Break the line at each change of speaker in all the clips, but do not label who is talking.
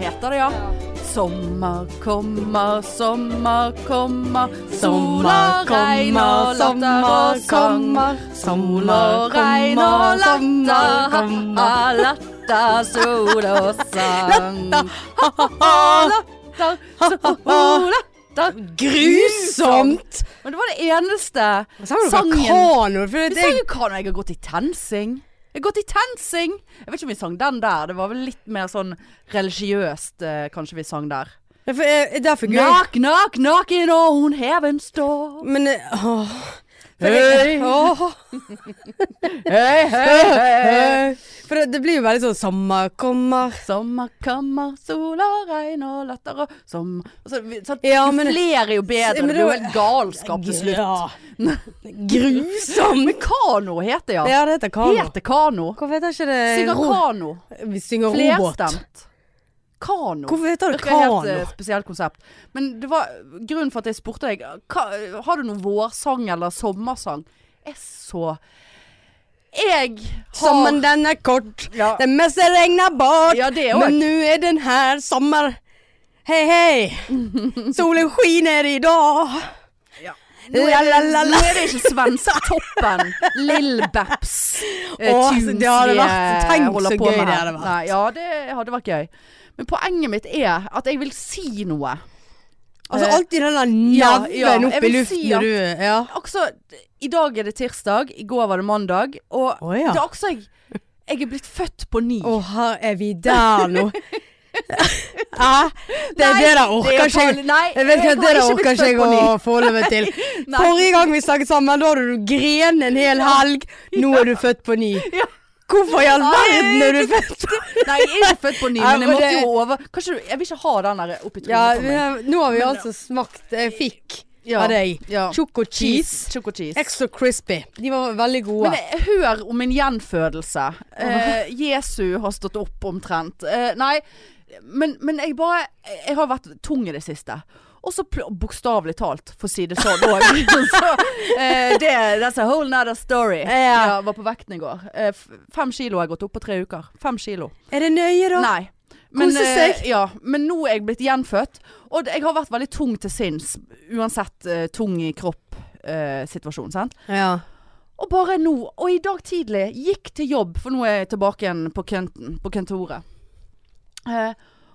låta, det, ja. Sommer kommer, sommer kommer, sola,
Sola
regn og
kommer,
latter og
sommer
sang.
kommer,
Sola,
sommer
regn
kommer,
og
sommer
latter,
kommer.
ha-ha, latter, sol og sang. Ha-ha, latter, sol, latter.
Grusomt!
Men det var det eneste
Så har du
sangen.
Kano, for
Vi
det,
sang jo Kano, jeg har gått i tensing. Jeg har gått i tensing! Jeg vet ikke om vi sang den der, det var vel litt mer sånn religiøst eh, kanskje vi sang der.
det, for, eh, derfor gøy.
Knock, knock, knocking on heaven's door.
Men eh, åh. For
Hei.
det, åh,
Hei, hei, hei.
eh, for det, det blir jo veldig sånn Sommer kommer
Sommer kommer, sol og regn og latter og sommer altså, vi- sånn,
Ja,
jo
men-
Flere er jo bedre,
men
det blir jo
det var-
helt galskap til slutt.
Ja. Grusomt!
Men Kano heter ja.
Ja, det heter Kano.
Heter Kano.
Hvorfor heter ikke det
Synger
ro-
Kano.
Vi synger robot.
Flerstemt. Kano.
Hvorfor heter det
Virker helt
Kano?
eh, spesielt konsept. Men det var grunnen for at jeg spurte deg hva, Har du noen vårsang eller sommersang? Jeg så Jeg har
Sommeren den er kort,
Ja.
det meste regner bort.
Ja, det òg.
Men nå er den her sommer. Hei, hei. Solen skiner i dag.
Nå er,
La,
det-
la, la, la.
nå er det ikke svensketoppen, Lill Beps, eh,
Åh,
tunes
det hadde
vi,
vært-
eh,
tenk
holder
så
på
gøy
med
det
her.
hadde vært.
Nei, ja, det hadde vært gøy. Men poenget mitt er at jeg vil si noe.
Altså
Eh,
alltid den
ja,
der neven
ja, jeg
opp i
vil
luften
si at-
når du Ja.
Altså, i dag er det tirsdag, i går var det mandag, og
Å, ja.
det er også jeg Jeg er blitt født på ny.
Å, her er vi der nå. Hæ? Det,
Nei,
det der orker
er
ikke
farlig.
jeg.
Nei,
Jeg vet ikke,
har
Det der
blitt
orker ikke
født
jeg
på
å
ny.
forholde meg til.
Nei.
Forrige gang vi snakket sammen, da hadde du gren en hel helg. Nå er du født på ny.
Ja.
Hvorfor i all
Nei,
verden er du født på ny?
Nei, jeg er ikke født på ny,
Ja,
men jeg
men
måtte
det-
jo over Kanskje du Jeg vil ikke ha den der oppi trynet
Ja,
på
vi
meg.
har, nå har vi
Men-
altså smakt Jeg fikk
Ja,
av deg
ja.
choco cheese.
Choco cheese.
Extra crispy. De var veldig gode.
Men eh, hør om en gjenfødelse. Eh, Jesu har stått opp omtrent. Eh, nei, men, men jeg bare Jeg har vært tung i det siste. Og så pl- bokstavelig talt, for å si det sånn òg. så, eh, det, that's a whole nother story.
Ja.
Jeg var på vekten i går. Eh, f- fem kilo har jeg gått opp på tre uker. Fem kilo.
er det nøye, da?
Nei. Men,
Kose
eh,
seg.
ja, men nå er jeg blitt gjenfødt. Og det- jeg har vært veldig tung til sinns. Uansett eh, tung i kropp-situasjon. sant?
Ja.
og bare nå, og i dag tidlig, gikk til jobb, for nå er jeg tilbake igjen på, kønten, på kontoret. Eh,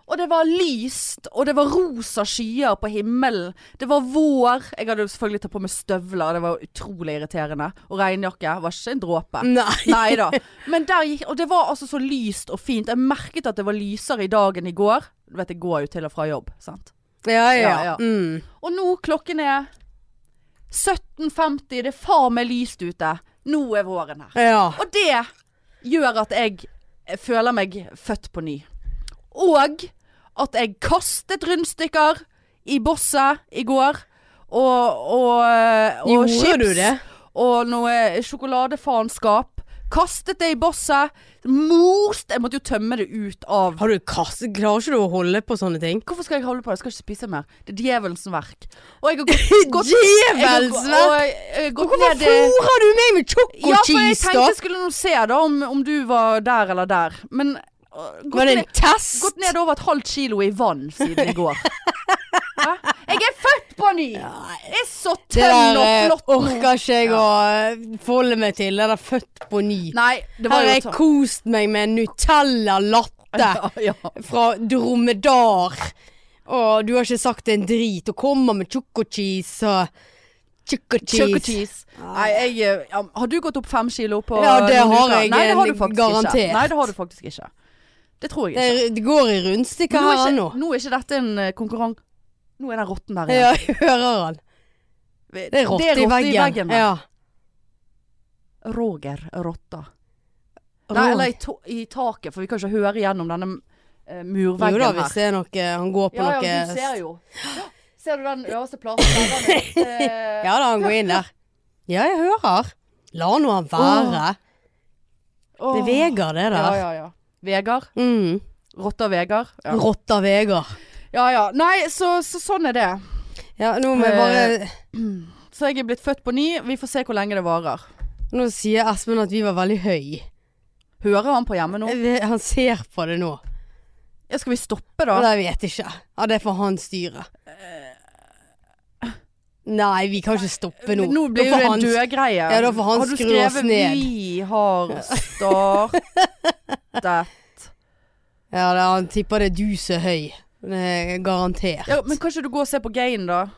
og det var lyst, og det var rosa skyer på himmelen. Det var vår. Jeg hadde jo selvfølgelig tatt på meg støvler, det var utrolig irriterende. Og regnjakke var ikke en dråpe.
Nei.
Nei da. Men der gikk Og det var altså så lyst og fint. Jeg merket at det var lysere i dag enn i går. Du vet, jeg går jo til og fra jobb, sant.
Ja, ja.
Ja, ja.
Mm.
Og nå klokken er 17.50. Det er faen meg lyst ute. Nå er våren her.
ja.
Og det gjør at jeg føler meg født på ny. Og at jeg kastet rundstykker i bosset i går. Og, og, og
Gjorde
chips.
du det?
Og noe sjokoladefaenskap. Kastet det i bosset. Most Jeg måtte jo tømme det ut av
Har du kasse? Klarer ikke du å holde på sånne ting?
Hvorfor skal jeg holde på det? Jeg skal ikke spise mer. Det er djevelens verk. Og jeg har gått, gått jeg har gå-
Djevelens
og
verk!
jeg- jeg har gått
Hvorfor
ned i-
fôrer du meg med choco
Ja, for jeg
cheese,
tenkte
da?
jeg skulle nå se da om, om du var der eller der. Men øh, gått,
Var det
ned,
en test?
gått ned over et halvt kilo i vann siden i går. Hæ? Jeg er født på ny! Jeg er så
Det
tønn
der
og
eh,
flott nå.
orker ikke jeg å eh, forholde meg til. Det der født på ny.
Nei, det var
Her har
jo
jeg kost meg med Nutella latte
Ja, ja.
fra dromedar. Og du har ikke sagt en drit. Og kommer med choco cheese og choco
Choco
cheese.
cheese. Nei, jeg, øh, ja, har du gått opp fem kilo på
Ja,
noen
det har
uker?
jeg eh,
Nei, det har du faktisk
garantert.
Ikke. Nei, det har du faktisk ikke. Det tror jeg
Det,
ikke.
er- det går i rundstykker
Men nå,
her
er
nå.
ikke nå er ikke dette en øh, konkurranse. Nå er den rotten der
Ja, jeg hører han. Det er rotte i veggen.
ja.
ja.
Roger Rotta. Nei, eller i, to i taket, for vi kan ikke høre gjennom denne eh,
jo
murveggen
da,
her.
hvis det er noe Han går på
Ja,
noe
ja, du ser jo. Hå! Ser du den øverste platen? Der, den er, eh,
Ja da, han går inn der. Ja, jeg hører. La nå han være.
åh.
Det er Vegard, det
Ja,
der.
ja, ja. Vegard.
Mm.
Rotta Vegard. Ja.
Rotta Vegard.
ja ja. Nei, så, så sånn er det.
Ja, nå må jeg
Eh.
bare
Så jeg er blitt født på ny. Vi får se hvor lenge det varer.
Nå sier Espen at vi var veldig høy.
Hører han på hjemme nå?
Jeg vet- Han ser på det nå.
Ja, skal vi stoppe da?
Eller jeg vet ikke. Ja, det får han styre. Nei, vi kan ikke stoppe nå.
Nå blir jo
Da får
det en
han-
dødgreie.
Ja, da får han
Har du
skru oss
skrevet
ned.
'vi har startet'?
Ja, det, han tipper det er du som er høy. Det er garantert.
Ja, men kan ikke du gå og se på Gain, da?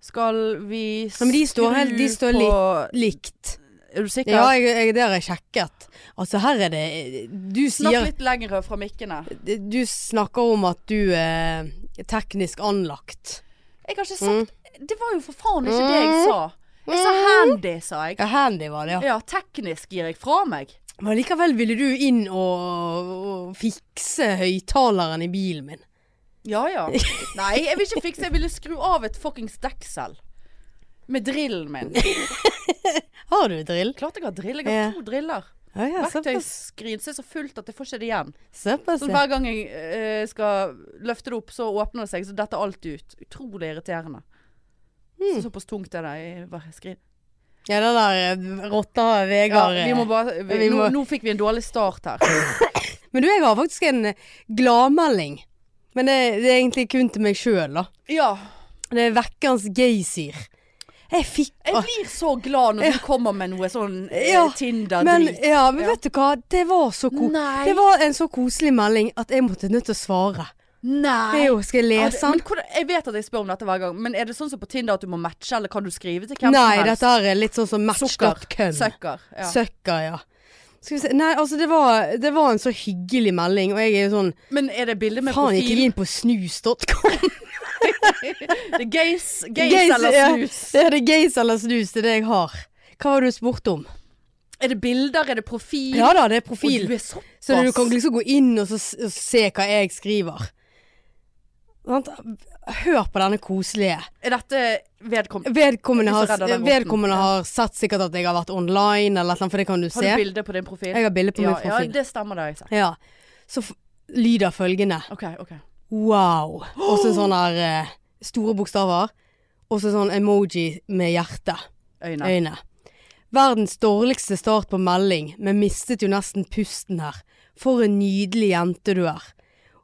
Skal vi
men de står helt- de står
litt
Likt.
Er du sikker?
Ja, jeg, jeg, det har jeg sjekket. Altså, her er det Du
Snakk
sier
litt lenger fra mikkene.
Du snakker om at du er teknisk anlagt.
Jeg har ikke
Mm.
sagt Det var jo for faen ikke det jeg sa. Jeg sa handy, sa jeg.
Ja, handy var det, ja.
Ja, teknisk gir jeg fra meg.
Men likevel ville du inn og, og fikse høyttaleren i bilen min.
Ja ja. Nei, jeg vil ikke fikse Jeg ville skru av et fuckings deksel. Med drillen min.
Har du drill?
Klart jeg har drill. Jeg har
Ja.
to driller.
Ja, ja, såpass.
Verktøyskrin så er det så fullt at jeg får ikke det igjen.
Såpass,
Sånn
ja.
hver gang jeg eh, skal løfte det opp, så åpner det seg, så detter alt ut. Utrolig irriterende.
Hmm.
Så, såpass tungt er det i hver skrin.
Ja, den der eh, rotta
Ja,
Vegard eh.
vi må bare vi,
vi må-
nå, nå fikk vi en dårlig start her.
Men du, jeg har faktisk en eh, gladmelding. Men det, det er egentlig kun til meg sjøl, da.
Ja.
Det er vekkerens geysir. Jeg fikk
Jeg blir så glad når du kommer med noe sånn eh,
Ah. Ja, men,
Tinder-drit.
ja, men vet du hva, det var så ko
Nei.
Det var en så koselig melding at jeg måtte nødt til å svare. Det er
Nei.
jo, skal jeg
Ja,
lese
det-
den?
men hvordan, jeg vet at jeg spør om dette hver gang, men er det sånn som på Tinder at du må matche, eller kan du skrive til hvem
Nei,
som helst?
dette her er litt sånn som
Sukker.
match.com.
Sucker. Ja.
Søkker, ja. Skal vi se. Nei, altså det var, det var en så hyggelig melding, og jeg er jo sånn
Men er det bilde med
Faen, gikk
profil?
jeg inn på snus.com?
Det er gays, gays,
Gays,
eller
ja.
snus?
Det er det gays eller snus, det er det jeg har. Hva var det du spurte om?
Er det bilder? Er det profil?
Ja da, det er
Og
profil.
du er såpass.
Så du kan liksom gå inn og, så, s- og se hva jeg skriver. Sant? Hør på denne koselige.
Er dette vedkommende?
Vedkommende,
Jeg er så
har,
redd av den
vedkommende
roten. Ja.
har sett sikkert at jeg har vært online, eller noe, for det kan du
Har du
se.
bilde på din profil?
Jeg har bilde på
ja,
min profil.
Ja, det stemmer det har jeg sett.
Ja. Så f lyder følgende.
Ok, ok.
Wow. Og så sånn her eh, store bokstaver. Og så sånn emoji med hjerte.
Øyne.
Øyne. Verdens dårligste start på melding, men mistet jo nesten pusten her. For en nydelig jente du er.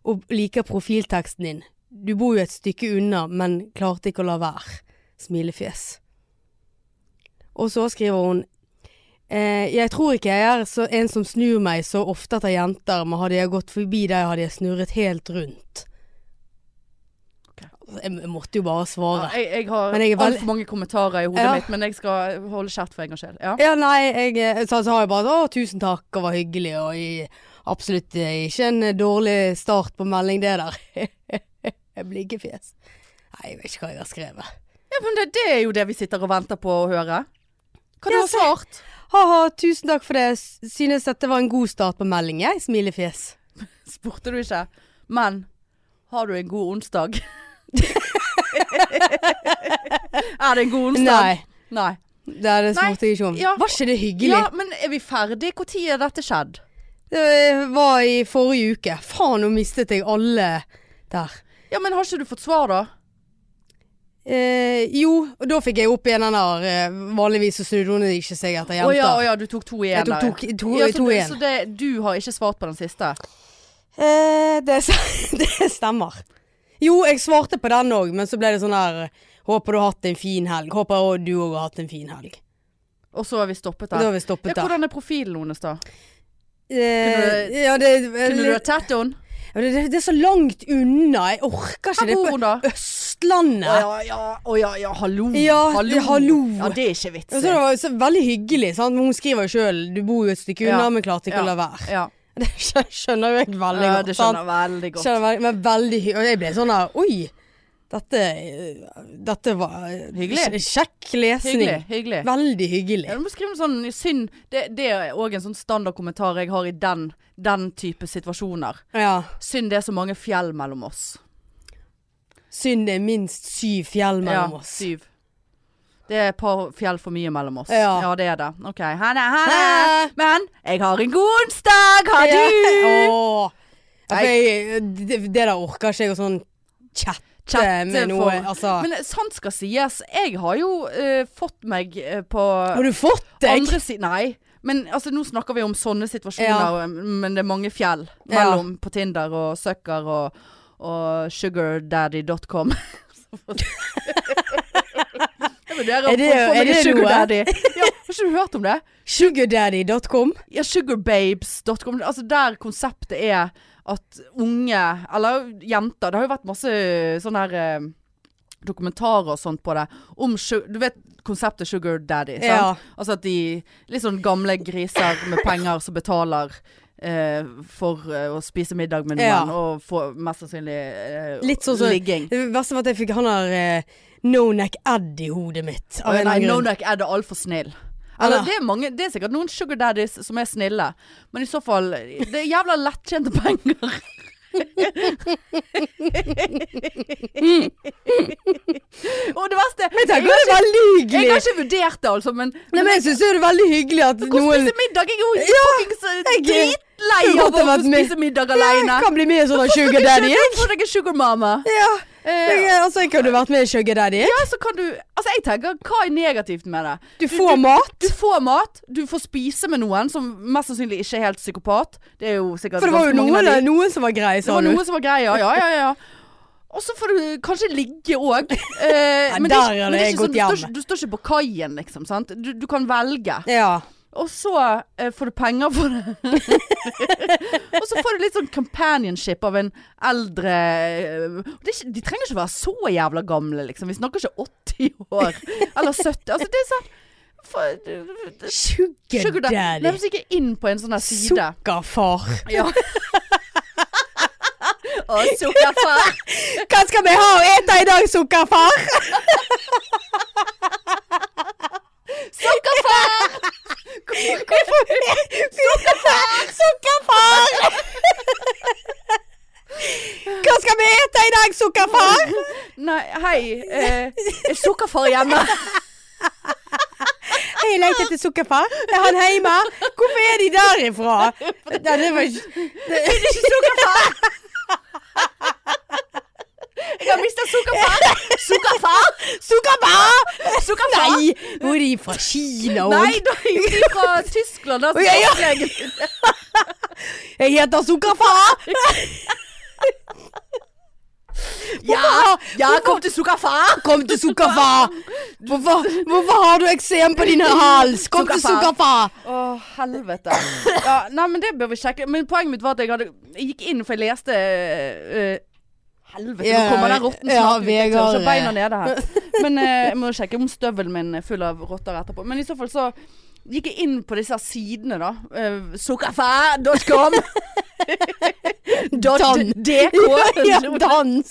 Og liker profilteksten din. Du bor jo et stykke unna, men klarte ikke å la være. Smilefjes. Og så skriver hun eh, Jeg tror ikke jeg er så en som snur meg så ofte etter jenter, men hadde jeg gått forbi deg, hadde jeg snurret helt rundt. Altså,
Ok.
Jeg jeg måtte jo bare
Ja,
svare.
jeg, jeg har
Men jeg er
alt
veldig-
for mange kommentarer i hodet
Ja.
mitt, men jeg skal holde kjeft for en gangs skyld. Ja.
Ja, nei, jeg, eh, så, så har jeg bare sånn, å, tusen takk, og var hyggelig, og i, absolutt eh, ikke en eh, dårlig start på melding det der. jeg blir ikke fjes. Nei, jeg vet ikke hva jeg har skrevet.
ja, men det, det er jo det vi sitter og venter på å høre. Hva du
Ja,
har svart?
Ha-ha, tusen takk for det, S- synes at det var en god start på melding, jeg, smilefjes.
Spurte du ikke. Men har du en god onsdag? er det en god onsdag?
Nei,
Nei.
det, er det
Nei,
spurte jeg ikke om.
ja.
Var ikke det hyggelig?
Ja, men er vi ferdige? Når er dette skjedd?
Det eh, var i forrige uke. Faen, nå mistet jeg alle der.
Ja, men har ikke du fått svar, da?
Eh, jo, og da fikk jeg opp igjen den der, eh, vanligvis så snudde hun ikke seg
Å
etter jenter.
ja, å ja, du tok to igjen
Jeg tok
der,
to, to,
ja, så,
to
du-
igjen.
Så det, du har ikke svart på den siste?
Eh, det, s- det stemmer. Jo, jeg svarte på den òg, men så ble det sånn her Håper du har hatt en fin helg. Håper også du òg har hatt en fin helg.
Og så har vi stoppet
Da har
der.
vi stoppet
Ja,
der.
hvordan er profilen hennes, da? kunne
Eh, ja, det,
Kunne du ha
det,
tatt henne?
det, det er så langt unna. Jeg orker
Hvor
ikke det.
bor
På
hun, da?
Østlandet.
ja, ja, å ja, ja, hallo.
Ja, hallo.
Ja, det er ikke vits.
Så det var så veldig hyggelig. Sant? Men hun skriver jo sjøl 'du bor jo et stykke unna,
Ja.
men klarte ikke
Ja.
å la være'.
Ja,
Det skjø- skjønner jo jeg veldig
ja
godt.
det
sant?
skjønner jeg veldig godt.
Skjønner veldig, men veldig hyggelig. Og jeg ble sånn der Oi! Dette, dette var
Hyggelig.
sj- Kjekk lesning.
Hyggelig. hyggelig.
Veldig
Ja,
hyggelig.
du må skrive en sånn synd Det, det er òg en sånn standardkommentar jeg har i den, den type situasjoner.
Ja.
Synd det er så mange fjell mellom oss.
Synd det er minst syv fjell mellom oss.
Syv. Det er et par fjell for mye mellom oss.
Ja.
det er det. OK. Ha det, ha
Ha
det. Men jeg har en god onsdag, har
Ja.
du?
Åh. Ja, for jeg, det, det der orker ikke jeg å sånn chatte
Chatte
med noe.
for-
Altså.
Men sant skal sies, jeg har jo eh, fått meg eh, på
har du fått deg?
andre siden Nei. Men altså, nå snakker vi om sånne situasjoner, eh,
Ja.
men det er mange fjell
Ja.
mellom på Tinder og Sucker og, og sugardaddy.com. Jeg vurderer å
Er
få
det-
få
er
meg en
det noe?
sugardaddy. Ja, har ikke du hørt om det?
Sugardaddy.com.
Ja, sugarbabes.com. Altså der konseptet er at unge, eller jenter Det har jo vært masse sånne her eh, dokumentarer og sånt på det. Om su- Du vet konseptet sugar daddy? Sant?
Ja.
Altså at de litt sånn gamle griser med penger som betaler eh, for eh, å spise middag med
Ja.
noen, og få mest sannsynlig eh,
Litt sånn som-
ligging.
Det verste var at jeg fikk han der eh, No-neck Ed i hodet mitt. Av
Nei,
en eller annen grunn.
Nonak er det altfor snill. Eller,
Ja.
det, er mange, det er sikkert noen sugar daddies som er snille, men i så fall Det er jævla lettjente penger. Og det verste
Jeg tenker det er veldig
Jeg har
hyggelig.
ikke vurdert det, altså, men
Nei, men jeg syns det er veldig hyggelig at
Hvor
noen
spiser middag? Jeg er jo fuckings eh,
jeg-
dritlei
Skulle godt
av å
ha vært med.
spise middag
Jeg
aleine.
kan bli med i en sånn Sugar Daddy. jeg.
Hvorfor deg sugar mama?
Ja.
Eh,
Jeg, altså, jeg kunne vært med i Sugar Daddy.
ja, så kan du Altså, jeg tenker, hva er negativt med det?
Du får mat.
Du får mat, du får spise med noen som mest sannsynlig ikke er helt psykopat. Det er jo sikkert
For det var jo
ganske mange
noen,
av de.
noen som var greie,
Det
sa
var
du.
noe som var greia, ja, ja, ja. Og så får du kanskje ligge òg.
Ja,
men det er ikke-
der hadde
men det er
jeg
ikke sånn- du står
gått hjem.
ikke- Du står ikke på kaien, liksom. sant? Du, du kan velge.
Ja.
Og så eh, får du penger for det. og så får du litt sånn companionship av en eldre eh, det er ikke, De trenger ikke være så jævla gamle, liksom. Vi snakker ikke 80 år. Eller 70. Altså, det er sånn for,
Sugar
Sugar daddy.
Daddy.
Nevnes ikke inn på en sånn her side.
Sukkerfar.
Ja. Å, sukkerfar.
Hva skal vi ha å ete i dag, sukkerfar?
Sukkerfar!
Sukkerfar! Hva skal vi ete i dag, sukkerfar?
Nei, hei. Eh, er sukkerfar hjemme?
Jeg leter etter sukkerfar. Er han hjemme? Hvorfor er de derifra? Nei, det var ikke
Det er ikke sukkerfar! Jeg har mista sukkerfar! Sukkerfar!
Sukkerfar!
Sukkerfar!
Nei! Nå er de fra Kina
Nei,
òg.
da er jo de fra Tyskland. Altså,
Å, ja, ja.
opplegget.
Jeg heter sukkerfar!
ja, ja, kom til sukkerfar!
Kom til sukkerfar! Hvorfor, hvorfor har du eksem på din hals? Kom til
Sukkerfar.
sukkerfar!
Å, helvete. Ja, nei, men det bør vi sjekke. Men poenget mitt var at jeg, hadde, jeg gikk inn, for jeg leste eh, Helvete,
Ja,
nå kommer den rotten
ja,
snart ut. Jeg tør
Vegard.
ikke beina nede her. Men eh, jeg må sjekke om støvelen min er full av rotter etterpå. Men i så fall så gikk jeg inn på disse her sidene, da. Uh, Sukkerfæ.com. Dot
Dan.
DK.
Ja, dans!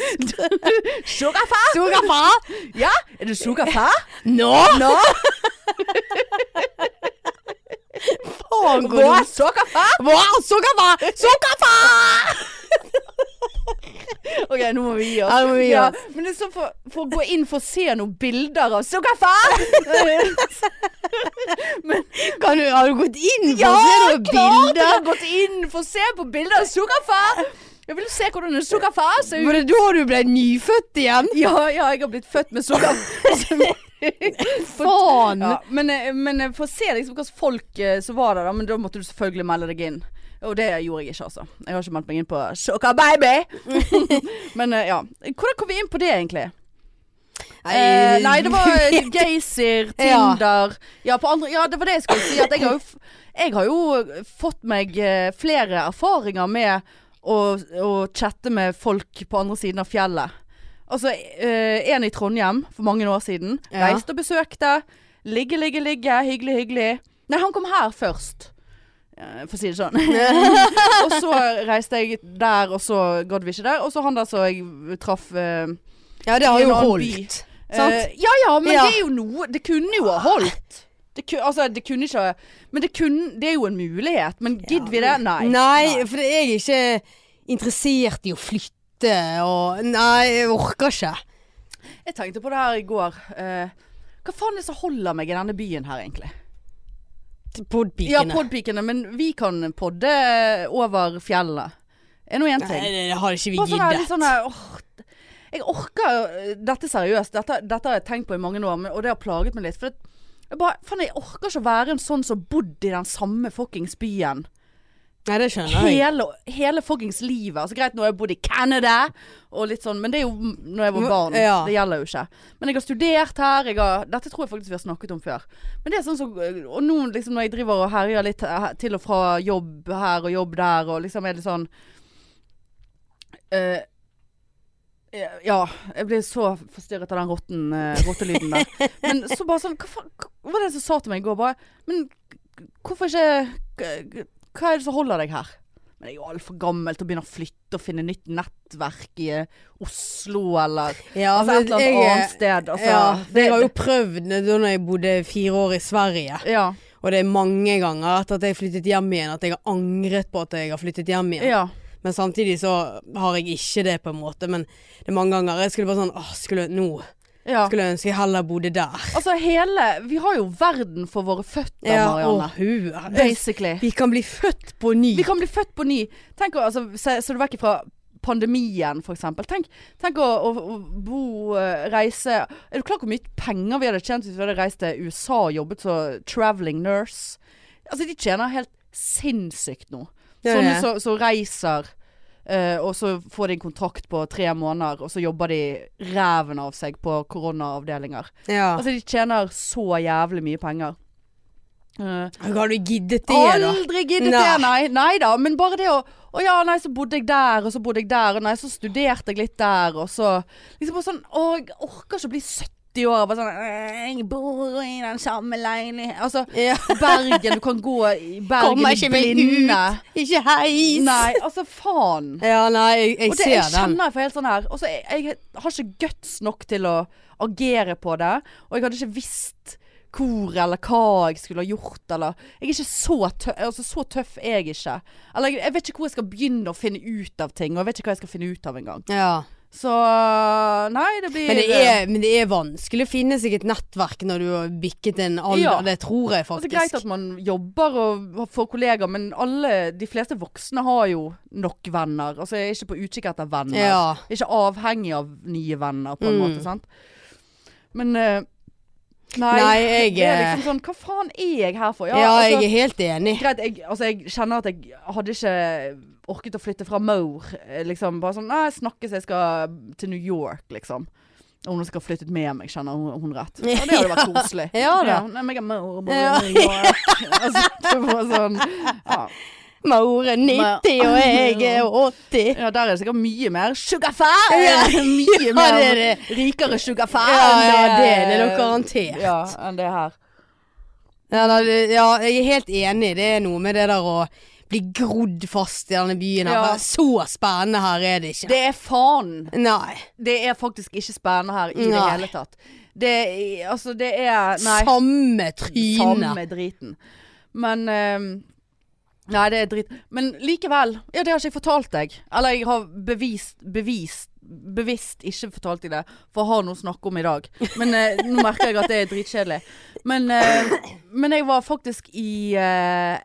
Sukkerfæ?
Sukkerfar!
Ja, er du sukkerfæ?
Nå!
Nå?
Faen, går
Hva
du
er sukkerfæ?
Hva? Sukkerfar! Sukkerfar!
Ok, nå må vi gi oss.
Ja, nå må vi gi oss.
men det er sånn for, for å gå inn for å se noen bilder av sukkerfar!
Kan du, har du gått inn for
ja,
å se noen
klart jeg
bilder?
har gått inn for å se på bilder av sukkerfar! Jeg vil se hvordan en sukkerfar ser ut.
Var det da du ble nyfødt igjen?
Ja, ja, jeg har blitt født med sukker.
Faen!
Ja, men, eh, men eh, for å se liksom hva slags folk eh, som var der, da, men da måtte du selvfølgelig melde deg inn. Og det gjorde jeg ikke, altså. Jeg har ikke meldt meg inn på Sugar Baby! men eh, ja. Hvordan kom vi inn på det, egentlig? Eh, nei, det var Geysir, Tinder ja. på andre, ja, det var det jeg skulle si. At jeg, har jo, f- jeg har jo fått meg eh, flere erfaringer med å, å chatte med folk på andre siden av fjellet. Altså, eh, en i Trondheim for mange år siden.
Ja.
Reiste og besøkte. Ligge, ligge, ligge. Hyggelig, hyggelig. Nei, han kom her først. eh, For å si det sånn. og så reiste jeg der, og så gadd vi ikke der. Og så han der som jeg traff eh,
Ja, det har
i en
jo
annen
holdt.
Eh,
Sant?
ja ja, men
Ja. Ah.
det er jo noe Det kunne jo ha holdt. Det ku, altså, det kunne ikke Men det, kunne, det er jo en mulighet. Men gidder vi det? Nei.
Nei, for jeg er ikke interessert i å flytte og Nei, jeg orker ikke.
Jeg tenkte på det her i går. Eh, hva faen er det som holder meg i denne byen her, egentlig? Ja,
Podpikene.
podpikene, men vi kan podde eh, over fjellet. Er nå én
Nei,
ting.
det det har ikke vi
Bare sånn her, litt
giddet.
sånn her åh, eh, Jeg orker øh, dette seriøst. Dette, dette har jeg tenkt på i mange år, men, og det har plaget meg litt. For det, Jeg bare, faen jeg orker ikke å være en sånn som bodde i den samme fuckings byen.
Nei, det skjønner jeg.
Hele, hele fuckings livet. Altså greit, nå har jeg bodd i Canada og litt sånn, men det er jo m- når jeg var barn.
Ja.
Det gjelder jo ikke. Men jeg har studert her. Jeg har, dette tror jeg faktisk vi har snakket om før. Men det er sånn som Og nå liksom når jeg driver og herjer litt eh, til og fra jobb her og jobb der, og liksom er det sånn eh, ja, jeg blir så forstyrret av den rotten, eh, rottelyden der. Men så bare sånn Hva faen hva var det som sa til meg i går? Bare, men hvorfor ikke Hva er det som holder deg her? Men jeg er jo altfor gammel til å begynne å flytte og finne nytt nettverk i eh, Oslo eller
Ja,
altså, et eller annet
jeg-
annet sted. Altså,
ja,
det,
jeg har jo prøvd det da når jeg bodde fire år i Sverige.
ja,
Og det er mange ganger etter at jeg flyttet hjem igjen at jeg har angret på at jeg har flyttet hjem igjen.
ja,
Men samtidig så har jeg ikke det, på en måte. Men det er mange ganger jeg skulle bare sånn Åh, skulle, nå
ja.
skulle jeg ønske jeg heller bodde der.
Altså hele Vi har jo verden for våre føtter,
åh,
Marianne.
hu. Jeg-
Basically.
Vi kan bli født på ny.
Vi kan bli født på ny. Tenk å altså, se, se du vekk fra pandemien, for eksempel. Tenk, tenk å, å, å bo, eh, reise Er du klar over hvor mye penger vi hadde tjent hvis vi hadde reist til USA og jobbet som traveling nurse? Altså, de tjener helt sinnssykt nå.
Det er
Sånne
det.
som som reiser, eh, og så får de en kontrakt på tre måneder, og så jobber de ræven av seg på koronaavdelinger.
ja.
Altså, de tjener så jævlig mye penger. Eh,
har du giddet det, da?
Aldri giddet det,
Nei.
nei. Nei da, men bare det å Å ja, nei, så bodde jeg der, og så bodde jeg der, og nei, så studerte jeg litt der, og så Liksom bare sånn Å, jeg orker ikke å bli 70 år og bare sånn «Øh, Jeg bor i den samme leiligheten Altså,
Ja.
Bergen, du kan gå i Bergen i
Kommer ikke meg
blinde.
Ikke heis!
Nei, altså faen.
Ja, nei, jeg, jeg
Og det, jeg
ser den.
kjenner jeg for helt sånn her. Og så jeg, jeg har ikke guts nok til å agere på det. Og jeg hadde ikke visst hvor eller hva jeg skulle ha gjort, eller Jeg er ikke så tøff, altså, så tøff er jeg ikke. Eller jeg, jeg vet ikke hvor jeg skal begynne å finne ut av ting, og jeg vet ikke hva jeg skal finne ut av engang.
Ja.
Så nei, det blir
Men det, er, men det er vanskelig å finne seg et nettverk når du har bikket en alder.
Ja.
Det tror jeg
Altså,
faktisk.
greit at man jobber og får kollegaer, men alle, de fleste voksne har jo nok venner. Altså, jeg er ikke på utkikk etter venner.
ja.
Jeg er ikke avhengig av nye venner, på en
Mm.
måte. sant? Men eh, nei,
Nei, jeg,
det er
eh,
liksom sånn Hva faen er jeg her for? altså,
ja, altså, jeg er helt enig.
Greit, jeg, altså, jeg kjenner at jeg hadde ikke orket å flytte fra Maur. eh, Liksom, bare sånn Nei, snakkes, jeg skal til New York, liksom. Og hun skal ha flyttet med meg, kjenner hun, hun rett. Og det hadde vært koselig.
Ja da.
nei, men jeg er Maur, Maur,
Ja.
New York. Altså, det var sånn ja.
Maure 90 og jeg er 80.
Ja, der er det sikkert mye mer sugarfær!
Ja.
mye
Ja,
mer
det er det.
rikere
Ja,
sugarfær
ja, det er det nok garantert.
Ja, enn det her.
Ja, da, det- ja, jeg er helt enig. Det er noe med det der å bli grodd fast i denne byen. her.
Ja.
Så spennende her er det ikke.
Det er faen!
Nei.
Det er faktisk ikke spennende her i det
Nei.
hele tatt. Det er- Altså, det er Nei,
Samme tryne.
samme driten. Men ehm, Nei, det er drit. Men likevel. Ja, det har ikke jeg fortalt deg. Eller jeg har bevist, bevist Bevisst ikke fortalt deg det, for jeg har noe å snakke om i dag. Men eh, nå merker jeg at det er dritkjedelig. Men, eh, men jeg var faktisk i eh,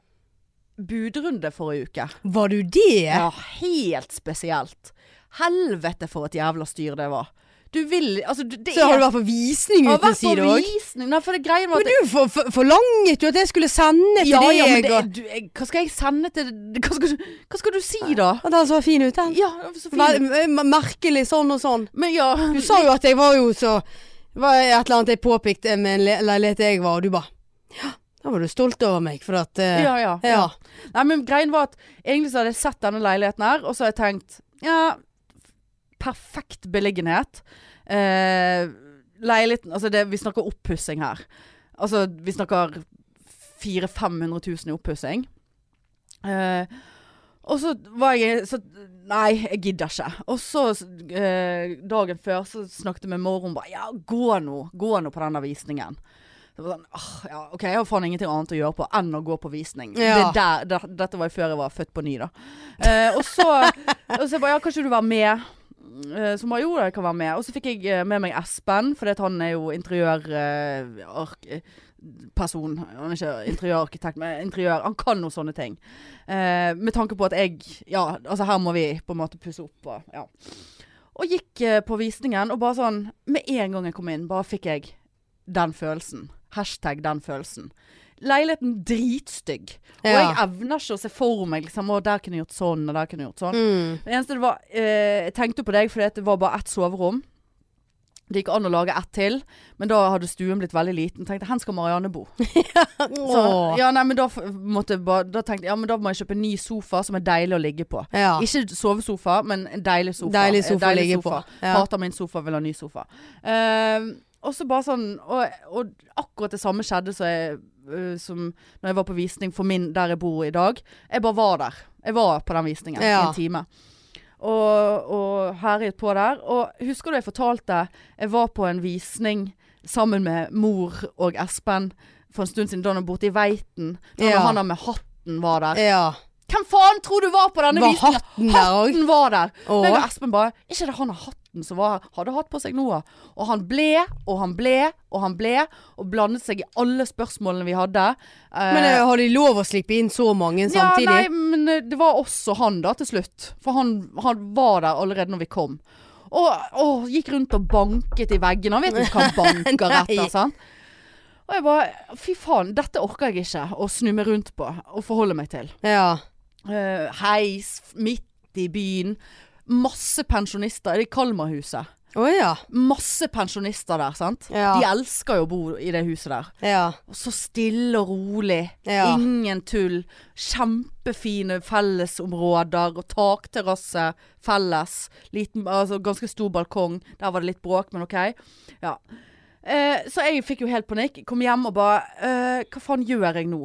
budrunde forrige uke.
Var du det?
Ja, helt spesielt. Helvete for et jævla styr det var. Du vil Altså, du- det
Så har du vært på visning
Jeg har
uten
vært på
side òg?
visning. Nei, for det greien var at
Men du for, for, forlanget jo at jeg skulle sende til
ja,
deg.
ja, men det,
og-
du, jeg, hva skal jeg sende til Hva skal du, hva skal du si da?
At han så fin ut, den.
Ja, så
Vel,
fint.
m- Merkelig sånn og sånn.
Men ja,
Du sa jo at jeg var jo så var et eller annet jeg påpekte med en le- leilighet jeg var, og du bare Ja, da var du stolt over meg, for at eh,
ja, ja,
ja.
Nei, men greien var at egentlig så hadde jeg sett denne leiligheten her, og så har jeg tenkt Ja, perfekt beliggenhet. Eh, leiligheten Altså, det, vi snakker oppussing her. Altså, vi snakker 400 500 000 i oppussing. Eh, og så var jeg så, Nei, jeg gidder ikke. Og så eh, dagen før så snakket jeg med mor, hun bare Ja, gå nå. Gå nå på denne visningen. Det var sånn, «Åh, ja, ok, Jeg har faen ingenting annet å gjøre på enn å gå på visning.
Ja.
Det er der, det, dette var jo før jeg var født på ny, da. Eh, og, så, og så jeg bare Ja, kan ikke du være med? Eh, Som bare jo da, jeg kan være med. Og så fikk jeg eh, med meg Espen, for han er jo eh, interiørperson. Han er ikke interiørarkitekt, men interiør. Han kan noen sånne ting. Eh, med tanke på at jeg Ja, altså her må vi på en måte pusse opp og ja. Og gikk eh, på visningen, og bare sånn Med en gang jeg kom inn, bare fikk jeg den følelsen. Hashtag den følelsen. Leiligheten dritstygg. Og
Ja.
jeg evner ikke å se for meg liksom, å der kunne jeg gjort sånn, og der kunne jeg gjort sånn.
Mm.
Det eneste det var eh, Jeg tenkte på deg fordi at det var bare ett soverom. Det gikk an å lage ett til, men da hadde stuen blitt veldig liten. Tenkte hen skal Marianne bo. Så,
Åh.
ja, nei, men da, f- måtte jeg bare, da tenkte jeg ja, men da må jeg kjøpe en ny sofa som er deilig å ligge på.
Ja.
Ikke sovesofa, men en deilig sofa.
Deilig
En
sofa å ligge på. Ja.
Hater min sofa, vil ha ny sofa. Ehm, og så bare sånn og, og akkurat det samme skjedde som, jeg, øh, som når jeg var på visning for min der jeg bor i dag. Jeg bare var der. Jeg var på den visningen i
Ja.
en time. Og, og herjet på der. Og husker du jeg fortalte Jeg var på en visning sammen med mor og Espen for en stund siden, da han var borte i Veiten. Da
Ja.
han der med hatten var der.
ja.
Hvem faen tror du var på denne
Var
visningen?
hatten der òg?
Hatten var der.
Åh.
Meg og Espen bare Ikke det han har hatten som var her? Hadde hatt på seg Noah. Og han ble, og han ble, og han ble, og blandet seg i alle spørsmålene vi hadde. Eh,
Men eh, har de lov å slippe inn så mange samtidig?
Ja, nei, men eh, det var også han da, til slutt. For han, han var der allerede når vi kom. Og, og gikk rundt og banket i veggene. Han vet ikke hva han banker
Nei.
etter, sant? Og jeg bare Fy faen, dette orker jeg ikke å snu meg rundt på og forholde meg til.
Ja.
Eh, heis f- midt i byen. Masse pensjonister. Er det Kalmarhuset?
Å ja.
Masse pensjonister der, sant?
Ja.
De elsker jo å bo i det huset der.
ja.
Og så stille og rolig.
Ja.
Ingen tull. Kjempefine fellesområder og takterrasse felles. Liten, altså ganske stor balkong. Der var det litt bråk, men OK. Ja. Eh, så jeg fikk jo helt panikk. Kom hjem og bare eh, Hva faen gjør jeg nå?